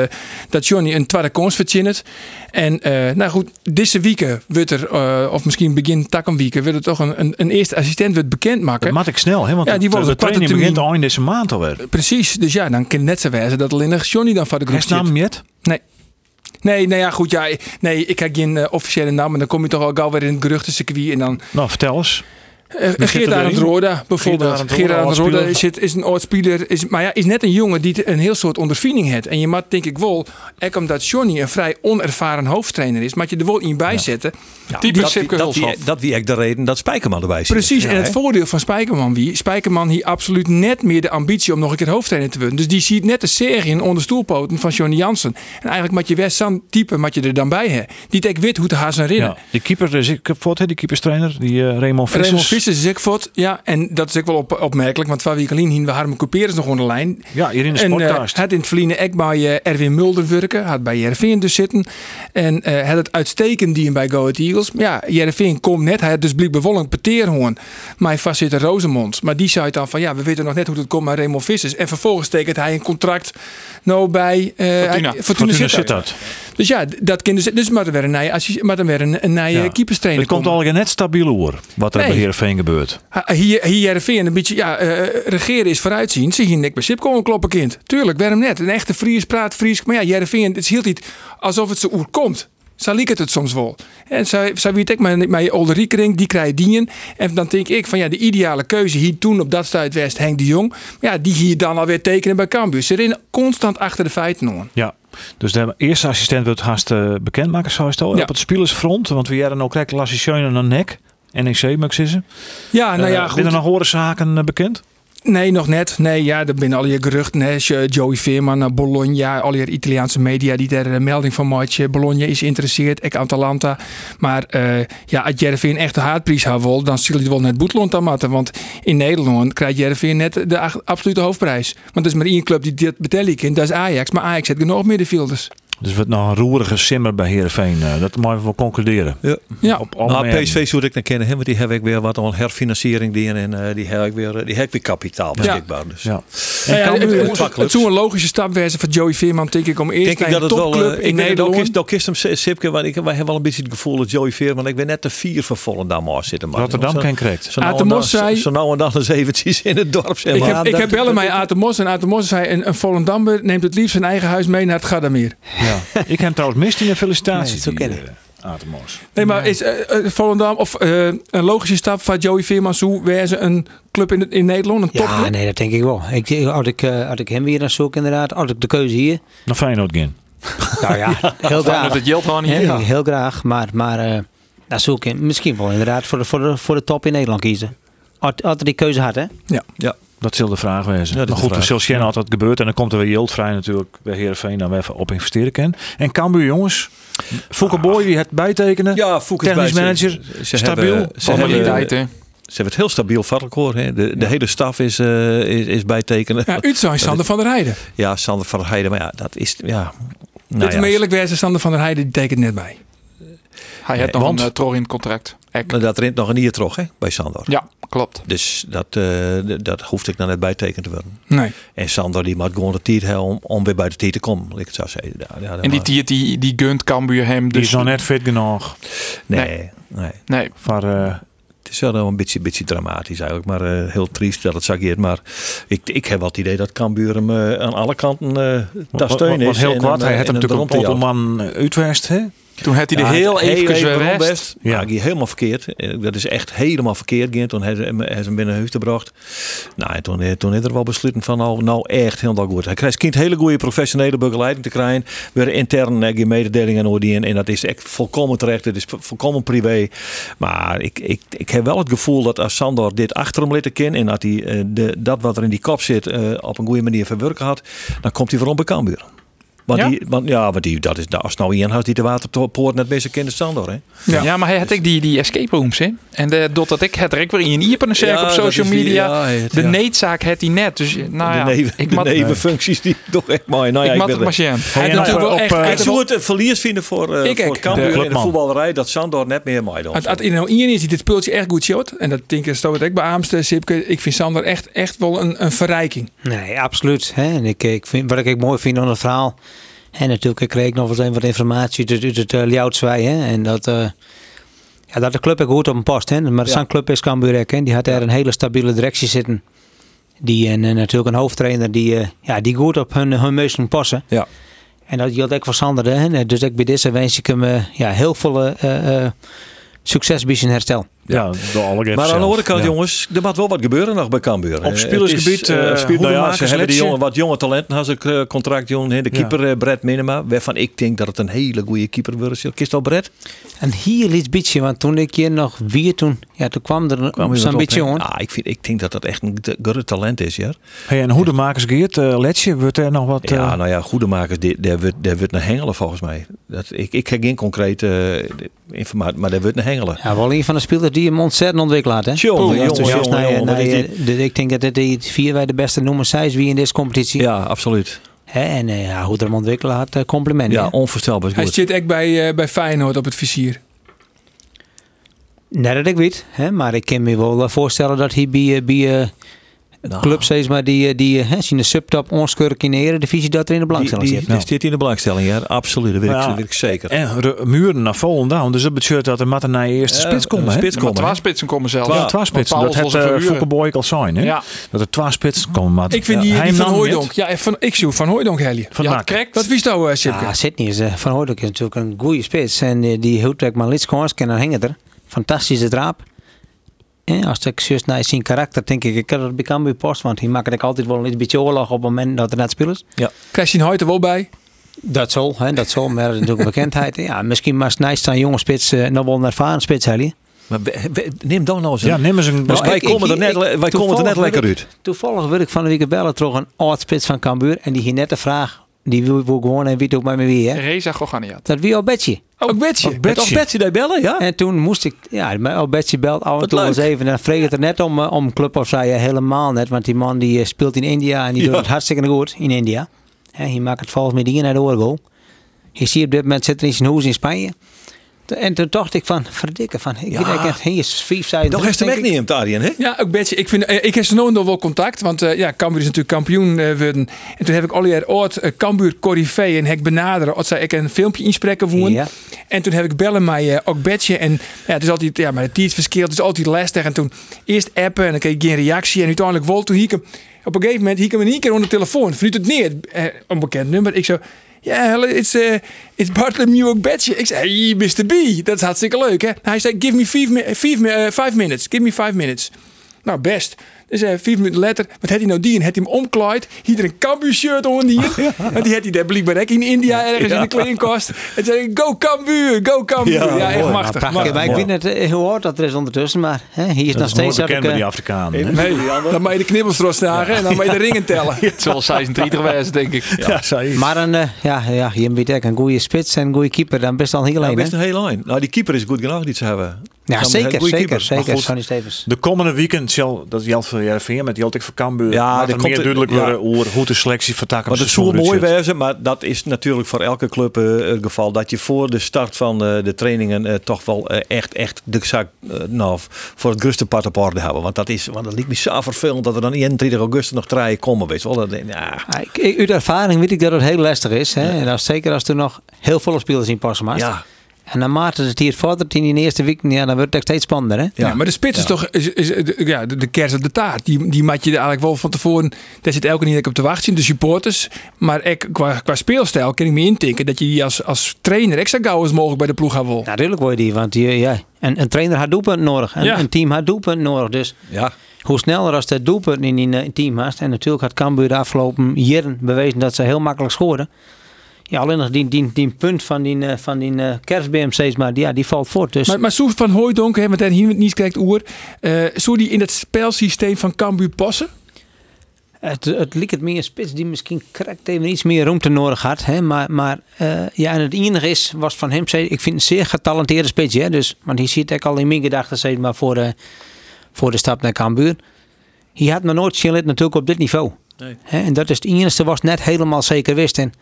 Speaker 3: dat Johnny een tweede kans verzinnert. En eh, nou goed, deze week wordt er, eh, of misschien begin takkenweken, wil er toch een, een, een eerste assistent wordt
Speaker 1: Dat
Speaker 3: bekendmaken.
Speaker 1: mat ik snel, hè? Want
Speaker 3: Ja, die
Speaker 1: de,
Speaker 3: worden
Speaker 1: de
Speaker 3: op korte
Speaker 1: training begint
Speaker 3: termijn.
Speaker 1: eind deze maand alweer.
Speaker 3: Precies, dus ja, dan kan het net zo wijzen dat alleen nog Johnny dan van de groep
Speaker 1: Is
Speaker 3: zit.
Speaker 1: naam Jet?
Speaker 3: Nee. Nee, nou ja, goed. Ja, nee, ik kijk geen eh, officiële naam, maar dan kom je toch al gauw weer in het geruchtencircuit. En dan
Speaker 1: Nou, vertel eens.
Speaker 3: Eh,
Speaker 1: zit
Speaker 3: Geert
Speaker 1: er
Speaker 3: Arend
Speaker 1: erin?
Speaker 3: Roda bijvoorbeeld.
Speaker 1: Geert Arend Roda,
Speaker 3: Geert Arend Roda
Speaker 1: oud-speler.
Speaker 3: is, het- is een oudspieler, is, maar ja, is net een jongen die een heel soort ondervinding heeft. En je mag denk ik wel, ook omdat Johnny een vrij onervaren hoofdtrainer is, mag je er wel in bijzetten.
Speaker 8: Typisch
Speaker 2: dat,
Speaker 8: Sipke
Speaker 2: dat,
Speaker 8: Hulshoff.
Speaker 2: die, dat die echt de reden dat Spijkerman erbij zit.
Speaker 3: Precies,
Speaker 2: Ja,
Speaker 3: en het
Speaker 2: hè?
Speaker 3: voordeel van Spijkerman wie? Spijkerman hier absoluut net meer de ambitie om nog een keer hoofdtrainer te worden. Dus die ziet net de serie in onder stoelpoten van Johnny Jansen. En eigenlijk moet je best zo'n type moet je er dan bij hebben. Die denkt wit hoe te haar zijn rinnen.
Speaker 1: Ja, die keeper, is ik voor hè, die keeperstrainer, die eh Raymond Vissers.
Speaker 3: Raymond Fries is Zikvoort, ja. En dat is ook wel op, opmerkelijk, want waar we alleen heen, we Harmen Couperus nog onder de lijn.
Speaker 1: Ja, hier in de
Speaker 3: en,
Speaker 1: sportcast.
Speaker 3: eh, had in het verleden ook bij eh, Erwin Mulder werken, had bij Jervin dus zitten. En eh had het uitstekend die bij Go Ahead Eagles. Maar ja, Jervin komt net, hij had dus blijkbaar wel een peteerhoorn. Maar hij vastzit in Rosemond. Maar die zei dan van, ja, we weten nog net hoe het komt met Raymond Vissers. En vervolgens tekent hij een contract nou bij eh
Speaker 1: Fortuna.
Speaker 3: hij-
Speaker 1: Fortuna
Speaker 3: Sittard.
Speaker 1: Sittard.
Speaker 3: Dus ja, d- dat kan dus, dus maar er weer een nieuwe, assis- maar er weer een, een nieuwe
Speaker 1: Ja.
Speaker 3: eh, keeperstrainer
Speaker 1: Het komt
Speaker 3: komen.
Speaker 1: al net stabiel hoor, wat er
Speaker 3: Nee.
Speaker 1: bij Heerenveen gebeurt.
Speaker 3: Ha- Hier, hier RVN een beetje, ja, eh, regeren is vooruitzien. Zie je Nick bij Sipko een kloppenkind. Tuurlijk, waarom net? Een echte Fries praat Fries. Maar ja, RVN, het hield niet alsof het ze oerkomt. Zo liek het het soms wel. En zo, zo weet ik, mijn, mijn olde Riekering, die krijgt dien. En dan denk ik van ja, de ideale keuze hier toen op dat stuitwest Henk de Jong. Ja, die hier dan alweer tekenen bij Cambuur. Ze rennen constant achter de feiten aan.
Speaker 1: Ja, dus de eerste assistent wordt haast eh, bekendmaken, zou je het al.
Speaker 3: Ja.
Speaker 1: Op het spielersfront, want we hadden ook lekker Lassie Schöne aan nek. NEC, mag ik zeggen.
Speaker 3: Ja, nou
Speaker 1: Eh,
Speaker 3: ja,
Speaker 1: zijn er
Speaker 3: goed.
Speaker 1: nog horen zaken eh, bekend?
Speaker 3: Nee, nog net. Nee, ja, er binnen al je geruchten. Hè. Als je Joey Veerman naar Bologna. Al je Italiaanse media die daar een melding van maatje. Bologna is geïnteresseerd. Ik Atalanta. Maar eh, ja, als Jervin echt de haatprijs had wil, dan zullen die wel net Boetland aan matten. Want in Nederland krijgt Jervin net de ach- absolute hoofdprijs. Want er is maar één club die dit betelt in. Dat is Ajax. Maar Ajax heeft genoeg middenvelders.
Speaker 1: Dus wordt nog een roerige simmer bij Heerenveen. eh, dat mag we wel concluderen.
Speaker 2: Ja.
Speaker 3: Ja.
Speaker 1: Op alle
Speaker 2: Nou,
Speaker 1: merken.
Speaker 2: PSV zou ik dan kennen, hè, want die heb ik weer wat aan herfinanciering die en eh, die heb ik weer, eh, die heb ik weer kapitaal beschikbaar. Dus.
Speaker 1: Ja.
Speaker 3: Nou ja, het, het,
Speaker 2: Twakkelups.
Speaker 3: het zou een logische stap wezen voor Joey Veerman, denk ik, om eerst
Speaker 2: denk ik
Speaker 3: naar
Speaker 2: dat
Speaker 3: een
Speaker 2: het wel. eh,
Speaker 3: topclub in
Speaker 2: ik weet
Speaker 3: Nederland.
Speaker 2: dat kist hem S- Sipke, want ik, wij hebben wel een beetje het gevoel dat Joey Veerman, ik ben net de vier van Volendam af zitten. Maar
Speaker 1: Rotterdam ken correct.
Speaker 2: Zo nou en dan-
Speaker 3: Atemos zei-
Speaker 2: zo nou en dan eens eventjes in het dorp. Zeg
Speaker 3: Ik
Speaker 2: maar.
Speaker 3: heb, ik heb bellen bij Atemos en Atemos zei een, een Volendammer neemt het liefst zijn eigen huis mee naar het Gardameer.
Speaker 1: Ja. ik heb trouwens mist in de felicitatie.
Speaker 5: zo ken ik.
Speaker 1: eh,
Speaker 3: Nee, maar is eh, eh, Volendam of eh, een logische stap van Joey Veerman zo wezen een club in, in Nederland, een
Speaker 5: Ja,
Speaker 3: topclub?
Speaker 5: nee, dat denk ik wel. Ik, denk, als, ik, eh, als ik hem weer dan zoek inderdaad, als ik de keuze hier.
Speaker 1: Nog Feyenoord gaan.
Speaker 5: Nou ja, heel graag.
Speaker 9: dat het geld gewoon niet
Speaker 5: Heel-
Speaker 9: heeft.
Speaker 5: Heel graag, maar, maar eh nou, zoek ik misschien wel inderdaad voor de, voor de, voor de top in Nederland kiezen. Als als er die keuze had, hè?
Speaker 3: Ja.
Speaker 2: Ja.
Speaker 1: Dat zal de vraag wezen.
Speaker 2: dat
Speaker 1: maar goed,
Speaker 2: is de
Speaker 1: we
Speaker 2: vraag.
Speaker 1: zullen zien altijd wat gebeurt. En dan komt er weer Yield vrij natuurlijk bij Heerenveen. Dan we even op investeren kan. En Cambuur jongens. Fouke Boy, wie het bijtekenen.
Speaker 2: Ja, Fouke is
Speaker 1: Technisch
Speaker 2: bij-
Speaker 1: manager.
Speaker 2: ze- ze
Speaker 1: stabiel.
Speaker 2: hebben- ze
Speaker 1: Allemaal
Speaker 2: hebben-
Speaker 1: niet.
Speaker 2: Ze
Speaker 9: hè?
Speaker 2: hebben het heel stabiel varkhoor. hè. De, de hele staf is, eh is, is bijtekenen.
Speaker 3: Ja, Utrecht, Sander van der Heijden.
Speaker 2: Ja, Sander van Heijden. Maar ja, dat is... Ja,
Speaker 3: Nou,
Speaker 2: nou
Speaker 3: Dit
Speaker 2: ja,
Speaker 3: maar eerlijk wezen, Sander van der Heijden die tekent net bij.
Speaker 9: Hij heeft nog
Speaker 2: want-
Speaker 9: een uh, in contract. Ek.
Speaker 2: dat rent nog een hier terug hè, bij Sander.
Speaker 9: Ja, klopt.
Speaker 2: Dus dat, eh, d- dat hoefde ik dan net bijtekend te worden.
Speaker 3: Nee.
Speaker 2: En Sander die moet gewoon de tijd hebben om, om weer bij de tijd te komen. laat Ik het zo zeggen. Ja, ja,
Speaker 9: En die
Speaker 2: maar-
Speaker 9: tiert die, die gunt Cambuur hem
Speaker 1: Die
Speaker 9: dus.
Speaker 1: is nog net fit genoeg.
Speaker 2: Nee,
Speaker 9: nee.
Speaker 2: nee.
Speaker 9: Nee,
Speaker 1: Voor, eh,
Speaker 2: Het is wel een beetje, beetje dramatisch eigenlijk. Maar eh, heel triest dat het zakkeert. Maar ik, ik heb wel het idee dat Cambuur hem eh, aan alle kanten eh daar
Speaker 1: wat,
Speaker 2: steun
Speaker 1: wat,
Speaker 2: is.
Speaker 1: wat heel
Speaker 2: en
Speaker 1: kwad.
Speaker 2: eh,
Speaker 1: Hij had hem
Speaker 2: en
Speaker 1: natuurlijk
Speaker 2: brompt
Speaker 1: een
Speaker 2: hij al.
Speaker 1: pottelman uitwest. Hè?
Speaker 9: toen had hij de heel even weer rest.
Speaker 2: Ja, hij ging helemaal verkeerd. Eh, Dat is echt helemaal verkeerd. Ging. Toen heeft hij hem- heeft hij hem binnen huis gebracht. Nou, en toen, eh, toen heeft er wel besloten van nou, nou echt helemaal goed. Hij krijgt kind hele goede professionele begeleiding te krijgen. Weer intern eh, geen mededelingen over die. En, en dat is echt volkomen terecht. Het is vo- volkomen privé. Maar ik, ik, ik heb wel het gevoel dat als Sandor dit achter hem liet kennen. En dat hij eh, de, dat wat er in die kop zit eh, op een goede manier verwerken had. Dan komt hij weer bij Cambuur. Want
Speaker 9: Ja?
Speaker 2: ja? Die, want, ja, want die, dat is, als nou iemand had die de waterpoort net meeste kinderen Sandor, hè?
Speaker 9: Ja. maar hij had ik die, die escape rooms in. En de, doordat ik het er ook weer in een iepen
Speaker 2: Ja,
Speaker 9: op
Speaker 2: dat
Speaker 9: social
Speaker 2: is die- ja,
Speaker 9: media.
Speaker 2: het-
Speaker 9: de
Speaker 2: ja.
Speaker 9: needzaak had hij net. Dus
Speaker 3: Ah,
Speaker 9: nou ja,
Speaker 2: de neven,
Speaker 9: ik
Speaker 2: de
Speaker 9: mat-
Speaker 2: nevenfuncties die toch echt mooi. Nou ja,
Speaker 9: ik
Speaker 2: ik
Speaker 9: mat
Speaker 2: ben
Speaker 9: het
Speaker 2: er-
Speaker 9: maar zien.
Speaker 3: Hij had eh, natuurlijk wel echt... hij
Speaker 2: ik
Speaker 3: had
Speaker 2: zou
Speaker 3: wel-
Speaker 2: het een verlies vinden voor, eh
Speaker 3: Ik ook.
Speaker 2: voor Cambuur
Speaker 1: De
Speaker 2: en de
Speaker 1: clubman.
Speaker 2: voetballerij dat Sandor net meer mooi doet.
Speaker 3: Als als in nou Ian is die dit speeltje echt goed shot. En dat denk ik, dat ik bij Aamster, Sipke. Ik vind Sander echt, echt wel een, een verrijking.
Speaker 5: Nee, absoluut. Hè? En ik, ik vind, wat ik ook mooi vind aan het verhaal. En natuurlijk kreeg ik nog wel eens wat informatie uit, uit het uh, Hè? En dat, eh, ja, dat de club ook goed op hem past. Hè? Maar zijn club is Cambuur ook, hè. Die had daar een hele stabiele directie zitten. Die, en, eh, natuurlijk een hoofdtrainer die, eh, ja, die goed op hun, hun meesten passen.
Speaker 2: Ja.
Speaker 5: En dat geldt ook voor Sander. Hè? Dus ik bij deze wens ik hem eh, ja, heel veel eh, eh, succes bij zijn herstel.
Speaker 1: Ja, door alle
Speaker 2: maar aan de andere kant,
Speaker 1: jongen.
Speaker 2: jongens, er moet wel wat gebeuren nog bij Cambuur. Eh, het
Speaker 1: spielersgebied,
Speaker 2: is, eh,
Speaker 1: eh,
Speaker 2: op spiel- nou ja,
Speaker 1: Hoedemakers,
Speaker 2: ze hebben die
Speaker 1: Letje.
Speaker 2: jongen, wat jonge talenten. Als ik eh, contract jongen, de
Speaker 1: Ja.
Speaker 2: keeper eh, Brett Minema, waarvan ik denk dat het een hele goede keeper wordt. Kist al Brett?
Speaker 5: En hier iets beetje, want toen ik hier nog weer toen, ja, toen kwam er
Speaker 2: Kwam iemand
Speaker 5: zo'n
Speaker 2: op,
Speaker 5: beetje
Speaker 2: hè?
Speaker 5: hoor.
Speaker 2: Ah, ik, vind, ik denk dat dat echt een te- groot talent is, ja.
Speaker 1: Hey, en hoedemakers Geert, eh Letje, wordt er nog wat... eh,
Speaker 2: Ja, nou ja, goedemakers, die- daar wordt- daar wordt naar hengelen volgens mij. Dat, ik, ik heb geen concrete eh, informatie, maar daar wordt naar hengelen.
Speaker 5: Ja, wel een van de spelers die hem ontzettend ontwikkeld had. Hè?
Speaker 2: Jongen,
Speaker 5: Dus
Speaker 2: jongen,
Speaker 5: juist
Speaker 2: jongen,
Speaker 5: naar-
Speaker 2: jongen,
Speaker 5: naar-
Speaker 2: dat is
Speaker 5: Nou, eh, de- Ik denk dat dit die vier wij de beste noemen zijn wie in deze competitie.
Speaker 2: Ja, absoluut.
Speaker 5: en eh, ja, hoe hij hem ontwikkelen had, eh, complimenten.
Speaker 2: Ja,
Speaker 5: hè?
Speaker 2: onvoorstelbaar.
Speaker 3: Hij
Speaker 2: Goed.
Speaker 3: zit echt bij, eh, bij Feyenoord op het vizier.
Speaker 5: Nee, dat ik weet. Hè? Maar ik kan me wel eh, voorstellen dat hij bij, eh, bij eh,
Speaker 2: Nou.
Speaker 5: clubs is, maar die, eh, die eh, hè, zien de subtop onskeurig in de Eredivisie, dat er in de
Speaker 2: Die,
Speaker 5: belangstelling
Speaker 2: die,
Speaker 5: zit. Nou.
Speaker 2: die zit in de belangstelling, ja. Absoluut, dat weet, ik,
Speaker 1: Ja.
Speaker 2: dat weet ik zeker.
Speaker 1: En ru- muren naar Volendam. Dus dat betekent dat er matten naar je eerste
Speaker 2: Ja,
Speaker 1: spits komen.
Speaker 2: een
Speaker 1: hè?
Speaker 2: spits
Speaker 1: Ja,
Speaker 2: komen,
Speaker 1: maar
Speaker 8: Twee spitsen komen zelf.
Speaker 1: twa-
Speaker 8: Ja,
Speaker 1: Ja, twee spitsen.
Speaker 8: want
Speaker 1: Dat
Speaker 8: Paulus was
Speaker 1: het
Speaker 8: een
Speaker 1: eh,
Speaker 8: verhuurder.
Speaker 1: Fokkeboy al zijn. Hè?
Speaker 8: Ja.
Speaker 1: Dat er twee spitsen komen. matten.
Speaker 3: Ik vind die,
Speaker 1: Ja,
Speaker 3: die
Speaker 1: hij
Speaker 3: Van
Speaker 1: nam net.
Speaker 3: Hooijdonk. Ja, en van, ik zie Van Hooijdonk helje.
Speaker 1: Van
Speaker 3: ja,
Speaker 1: Naak.
Speaker 3: correct. Wat wist nou, eh Sipke?
Speaker 5: Ja, Sydney is, eh, Van Hoordijk is natuurlijk een goede spits. En eh, die houdt ook maar lits kans en dan hangen er. Fantastische draap. En als ik zus naar zijn karakter denk ik, ik kan dat bij Cambuur post, want die maakt ik altijd wel een beetje oorlog op het moment dat er net spelers.
Speaker 2: Ja.
Speaker 3: Krijg je een Hoijt er wel bij?
Speaker 5: Dat zal, hè, dat zal, maar dat is natuurlijk bekendheid. Ja, misschien maar snijst aan jonge spits, eh, nog wel een ervaren spits, Helly.
Speaker 2: Maar we- we- neem dan nou eens een...
Speaker 1: Ja, neem eens een...
Speaker 2: Dus
Speaker 5: Nou,
Speaker 2: wij
Speaker 5: ik- ik-
Speaker 2: komen er net,
Speaker 5: ik-
Speaker 2: le- wij komen er
Speaker 5: toevallig
Speaker 2: net lekker
Speaker 5: werd ik-
Speaker 2: uit.
Speaker 5: Toevallig werd ik van de week bellen toch een oud spits van Cambuur. En die ging net de vraag, die wil, wil gewoon en weet ook maar met wie. Hè?
Speaker 8: Reza Goganiat.
Speaker 5: Dat wie al Betje.
Speaker 3: Ook Betje.
Speaker 2: Toch Betsy daar bellen, ja?
Speaker 5: En toen moest ik, ja, maar al Betsy belt af en
Speaker 2: Wat
Speaker 5: toe wel eens
Speaker 2: leuk.
Speaker 5: even. En dan vreeg het er net om, eh, om een club of zij eh, helemaal net. Want die man die eh, speelt in India en die doet
Speaker 2: Ja.
Speaker 5: het hartstikke goed in India. Hè, hij maakt het volgens mij dingen naar de oorgoal. Je ziet op dit moment zit er in zijn hoes in Spanje. En toen dacht ik van, verdikke van, ik
Speaker 2: Ja.
Speaker 5: denk echt, hij is vijf, zei
Speaker 2: Dan heeft hem ook niet in, Tarien, hè?
Speaker 3: Ja, ook Betsy. Ik, vind, eh, ik heb ze nooit nog wel contact, want eh ja, Cambuur is natuurlijk kampioen eh worden. En toen heb ik al jaar ooit eh, Cambuur Corrivé en Hek benaderen. Als zij ik een filmpje inspreken voeren.
Speaker 5: Ja.
Speaker 3: En toen heb ik bellen met eh ook Betsy. En ja, het is altijd, ja, maar het is verschil, het is altijd lastig. En toen eerst appen en dan kreeg ik geen reactie. En uiteindelijk wel, toen hiek op een gegeven moment hiek hem in één keer onder de telefoon. Vanuit het neer, eh, onbekend nummer. Ik zo, ja, hello, it's, eh it's Bartholomew ook Betje. Ik zei, hey, Mr. B, dat is hartstikke leuk, hè. Hij zei, give me five, mi- five, mi- eh, five minutes, give me five minutes. Nou, best. Dus eh vier minuten later, wat had hij nou die? En had hij hem omklaaid. Hier er een Cambuur shirt onder die. Want die had hij daar blijkbaar ook in India ergens in de kledingkast. En zei hij, go Cambuur, go Cambuur. Ja, echt
Speaker 5: mooi.
Speaker 3: machtig.
Speaker 5: Nou, prachtig.
Speaker 3: machtig.
Speaker 5: Maar ik weet net eh, hoe hard dat er is ondertussen, maar hè, hier is
Speaker 1: Dat
Speaker 5: nog
Speaker 1: is nooit
Speaker 5: steeds... dat
Speaker 1: bekend
Speaker 5: ik,
Speaker 1: bij
Speaker 5: eh,
Speaker 1: die Afrikanen. hè?
Speaker 3: Nee, dan mag je de knibbels erop slagen en dan mag je de ringen tellen.
Speaker 8: Het zal 36 geweest, denk ik.
Speaker 1: Ja, zei
Speaker 5: Maar een, eh, ja, ja, je moet echt een goede spits en een goede keeper, dan best al heel
Speaker 2: Nou,
Speaker 5: alleen. hè?
Speaker 2: best een hele lijn. Nou, die keeper is goed genoeg die ze hebben.
Speaker 5: Ja,
Speaker 2: Samen
Speaker 5: zeker,
Speaker 2: een goede
Speaker 5: zeker,
Speaker 2: keeper. Maar
Speaker 5: zeker.
Speaker 2: goed.
Speaker 5: Sonny Stevens.
Speaker 1: De komende weekend zal dat geldt voor JRV, met Jeltik voor Cambuur.
Speaker 2: Ja,
Speaker 1: Ja,
Speaker 2: er
Speaker 1: dat
Speaker 2: komt
Speaker 1: meer
Speaker 2: een-
Speaker 1: duidelijk
Speaker 2: ja.
Speaker 1: worden hoe- hoe de selectie van Takken
Speaker 2: Want het zou mooi wezen, maar dat is natuurlijk voor elke club eh, het geval. Dat je voor de start van eh, de trainingen eh, toch wel eh, echt, echt de zak eh, nou, voor het grootste part op orde hebben. Want dat, is, want dat liep me zo vervelend dat er dan 31 augustus nog draaien komen. Weet je wel. Dat, ja.
Speaker 5: Ah, ik- ik- Uit ervaring weet ik dat het heel lastig is. Hè? En als, zeker als er nog heel veel spelers in passen maakt.
Speaker 2: Ja.
Speaker 5: En naarmate het hier vordert in die eerste week, ja, dan wordt het ook steeds spannender. Hè?
Speaker 3: Ja, maar de spits is toch is, is, de- ja, de, de kerst op de taart. Die, die maak je er eigenlijk wel van tevoren. Daar zit elke niet op te wachten. De supporters. Maar ik, qua, qua speelstijl kan ik me intinken dat je die als, als trainer extra gauw als mogelijk bij de ploeg gaat wil.
Speaker 5: Natuurlijk word je die, want je, ja, een, een trainer had doelpunt nodig. Een,
Speaker 3: Ja.
Speaker 5: een team had doelpunt nodig. Dus
Speaker 2: ja.
Speaker 5: hoe sneller als dat doelpunt in die eh, team had. En natuurlijk had Cambuur de afgelopen jaren bewezen dat ze heel makkelijk scoren. Ja, alleen nog die, die, die punt van die, eh, van die eh, kerstbeam steeds maar, die- ja, die valt voort. Dus
Speaker 3: Maar, maar Soes van Hooijdonk, hè, want daar hier niet kijkt oer. eh zou die in het spelsysteem van Cambuur passen?
Speaker 5: Het, het liep het meer een spits die misschien correct even iets meer ruimte nodig had. Hè? Maar, maar eh, ja, en het enige is, was van hem, zei- ik vind een zeer getalenteerde spits. Hè? Dus, want hij zit ook al in mijn gedachten, zeg maar, voor de, voor de stap naar Cambuur. Hij had nog nooit Chillet natuurlijk op dit niveau.
Speaker 2: Nee.
Speaker 5: Hè? En dat is het enige was net helemaal zeker wist. En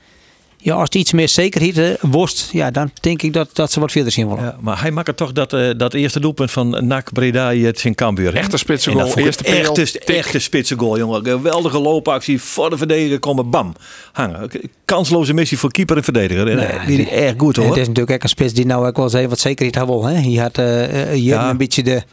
Speaker 5: ja, als het iets meer zekerheid eh, worst, ja, dan denk ik dat, dat ze wat verder zien willen.
Speaker 2: Ja, maar hij maakte toch dat, eh, dat eerste doelpunt van NAC Breda het zijn Cambuur. hè?
Speaker 8: Echte
Speaker 2: En
Speaker 8: spitsengoal.
Speaker 2: dat vond ik
Speaker 8: Eerste pijl.
Speaker 2: echte, echte spitsengoal, jongen. Geweldige loopactie voor de verdediger komen. Bam. Hangen. Kansloze missie voor keeper en verdediger. En, eh, die is echt goed
Speaker 5: En
Speaker 2: hoor.
Speaker 5: het is natuurlijk ook een spits die nou ook wel eens even wat zekerheid had wil. Hè? Hij had eh, eh, hier
Speaker 2: Ja.
Speaker 5: een beetje de...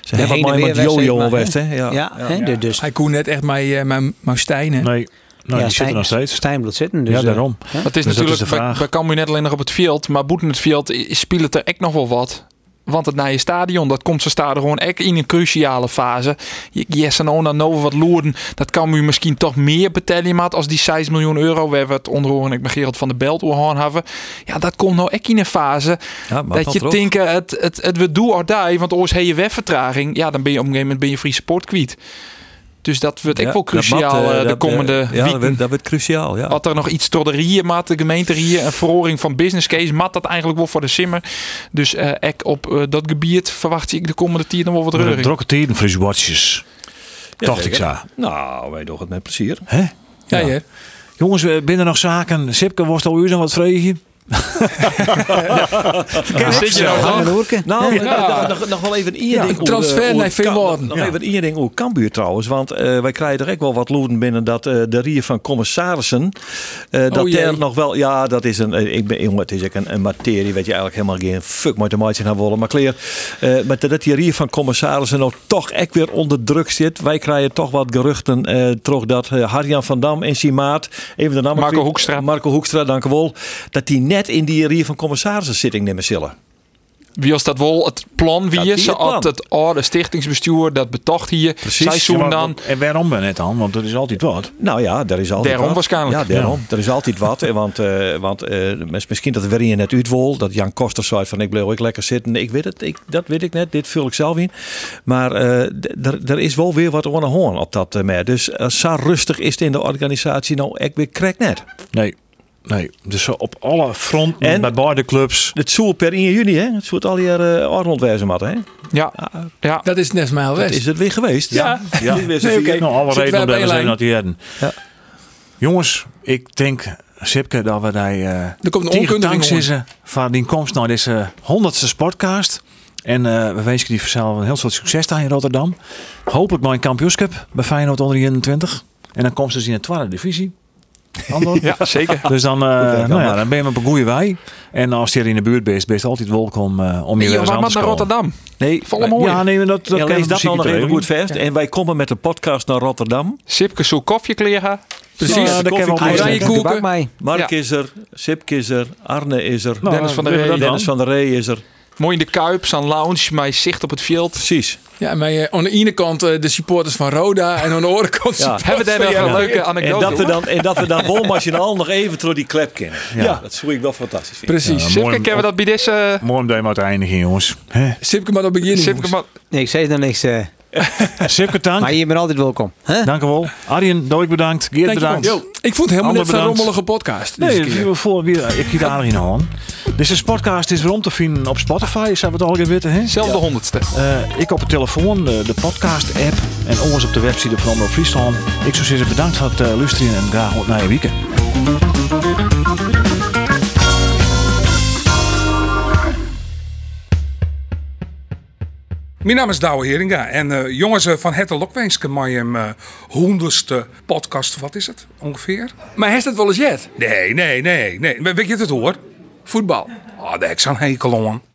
Speaker 2: Ze hebben
Speaker 5: heen en
Speaker 2: maar
Speaker 5: weer
Speaker 2: met
Speaker 5: wedstrijd,
Speaker 2: Jojo
Speaker 5: maar,
Speaker 2: al West, hè?
Speaker 5: Ja,
Speaker 2: Ja, ja.
Speaker 5: hè, de- dus.
Speaker 3: Hij kon net echt mijn, eh, mijn, mijn Stijn. hè?
Speaker 1: Nee, nou, die zitten nog steeds.
Speaker 5: Stijn wil zitten. Dus,
Speaker 1: ja,
Speaker 5: eh,
Speaker 1: daarom.
Speaker 5: hè?
Speaker 8: Het is
Speaker 1: Dus dat
Speaker 8: natuurlijk,
Speaker 1: is de
Speaker 8: we,
Speaker 1: vraag.
Speaker 8: we komen net alleen nog op het veld, maar boeten het veld i- speelt het er echt nog wel wat. Want het naar je stadion, dat komt ze staan gewoon echt in een cruciale fase. Je- Yes en Ona, Nova wat loeren, dat kan u misschien toch meer betalen maat als die 6 miljoen euro. We hebben het onderhoren, ik ben Gerald van de Belt oorhoorn hebben. Ja, dat komt nou echt in een fase
Speaker 2: Ja, maar
Speaker 8: dat
Speaker 2: valt
Speaker 8: je
Speaker 2: erop.
Speaker 8: denkt, eh, het, het, het we doen or die, want oors heb je wegvertraging. Ja, dan ben je op een gegeven moment ben je free support kwijt. Dus dat wordt ook wel cruciaal dat, uh, de komende
Speaker 2: ja, eh, dat wordt, dat wordt, cruciaal, ja.
Speaker 8: Wat er nog iets tot de rieën mat, de gemeente rieën, een verhoring van business case, mat dat eigenlijk wel voor de simmer. Dus uh, echt op uh, dat gebied verwacht ik de komende tien nog wel wat reuring.
Speaker 1: Drokke tien, fris watjes. Dacht ik zo.
Speaker 2: Nou, wij doen het met plezier.
Speaker 1: Hè?
Speaker 3: Ja, ja.
Speaker 1: Jongens, binnen nog zaken. Sipke, was al u dan wat vreugje?
Speaker 2: ja. Zit je nou Nou, ja. nog, nog wel even één ding.
Speaker 3: transfer naar
Speaker 2: Finland. Nog even één ding over Cambuur trouwens. Want uh, wij krijgen er ook wel wat loeden binnen dat uh, de rier van commissarissen. Uh, dat oh nog wel... Ja, dat is een... eh, ik ben, jongen, het is ook een, een materie weet je eigenlijk helemaal geen fuck met de maatje naar wollen. Maar kleer, maar dat die rier van commissarissen nou toch echt weer onder druk zit. Wij krijgen toch wat geruchten eh, terug dat Harjan van Dam en Simaat... Even de naam...
Speaker 8: Marco Hoekstra.
Speaker 2: Marco Hoekstra, dank u wel. Dat die net in die rier van commissarissitting nemen zullen.
Speaker 8: Wie als dat wel het plan wie is, had het oude stichtingsbestuur dat betocht hier Precies. seizoen
Speaker 1: ja,
Speaker 8: dan.
Speaker 1: En waarom ben het dan? Want er is altijd wat.
Speaker 2: Nou ja, daar is altijd
Speaker 8: daarom
Speaker 2: wat.
Speaker 8: waarschijnlijk.
Speaker 2: Ja, daarom. Ja. Er is altijd wat. Want, uh, want uh, misschien dat weer in het uit wil. Dat Jan Koster zei van ik bleef ook lekker zitten. Ik weet het, ik, dat weet ik net. Dit vul ik zelf in. Maar uh, er is wel weer wat aan hoorn op dat meer. Dus zo rustig is het in de organisatie nou echt weer krek net.
Speaker 1: Nee, Nee, dus op alle fronten en bij beide clubs.
Speaker 2: Het zou per 1 juni, hè? Het zou al hier uh, Arnold wezen, hè?
Speaker 8: Ja. ja.
Speaker 3: Dat is net maar
Speaker 2: Dat is het weer geweest.
Speaker 3: Ja.
Speaker 1: Dus ja. ja. Nee, okay. Nou, alle redenen om dat we dat hier hadden. Ja. Jongens, ik denk, Sipke, dat we daar... Uh, er
Speaker 3: komt een
Speaker 1: onkunde van die komst naar deze honderdste sportcast. En uh, we wensen die vanzelf een heel soort succes daar in Rotterdam. Hopelijk maar een kampioenschap bij Feyenoord onder 21. En dan komt ze dus in de tweede divisie. Andor?
Speaker 8: Ja, zeker.
Speaker 1: Dus dan, uh, nou ja, dan ben je op een goede wij. En als je er in de buurt bent, ben je altijd welkom uh, om je
Speaker 8: nee,
Speaker 1: weer eens aan te
Speaker 8: naar Rotterdam.
Speaker 1: Nee,
Speaker 8: volle mooi.
Speaker 1: Ja, nee, dat, dat
Speaker 2: ja,
Speaker 1: kan
Speaker 2: is dat dan nog even goed vast. Ja. En wij komen met de podcast naar Rotterdam.
Speaker 8: Sipke zoek koffie kleren.
Speaker 2: Precies, ja,
Speaker 8: dat
Speaker 2: koeken. Mark is er, Sipke is er, Arne is er,
Speaker 8: nou, Dennis van der Rey.
Speaker 2: Dennis van der Rey is er.
Speaker 8: Mooi in de Kuip, zo'n lounge, mijn zicht op het veld.
Speaker 2: Precies.
Speaker 3: Ja, maar uh, aan de ene kant uh, de supporters van Roda en aan de andere kant ja.
Speaker 8: hebben we daar nog een leuke anekdote
Speaker 2: En dat we dan, en dat we dan wolmachinaal nog even door die klep kennen. Ja. ja, dat zou ik wel fantastisch vinden.
Speaker 8: Precies. Ja, Sipke, kennen we dat bij deze...
Speaker 1: Mooi om daar maar te eindigen, jongens. He?
Speaker 3: Sipke maar op beginnen,
Speaker 8: Sipke maar...
Speaker 5: Nee, ik zei dan niks. Uh...
Speaker 1: Sipke, dank.
Speaker 5: Maar je bent altijd welkom. Hè?
Speaker 1: Dank u wel. Arjen, Doik bedankt. Geert
Speaker 3: dank
Speaker 1: bedankt.
Speaker 3: Yo, ik vond het helemaal net zo'n rommelige podcast.
Speaker 1: Nee, ik voor, ik hier Arjen al aan. Dus de podcast is weer om te vinden op Spotify. Is dat wat al geweten? Hè?
Speaker 8: Zelfde honderdste.
Speaker 1: Uh, ik op de telefoon, de, de podcast-app. En ons op de website van Omroep Friesland. Ik zou zeggen bedankt voor het uh, luisteren en graag op naar je weekend.
Speaker 3: Mijn naam is Douwe Heringa en uh, jongens uh, van Hette Lokweenske, mijn uh, honderdste podcast, wat is het ongeveer?
Speaker 8: Maar heeft het wel eens jet?
Speaker 3: Nee, nee, nee, nee. Weet je het hoor? Voetbal. Ah, oh, daar heb ik zo'n hekel aan.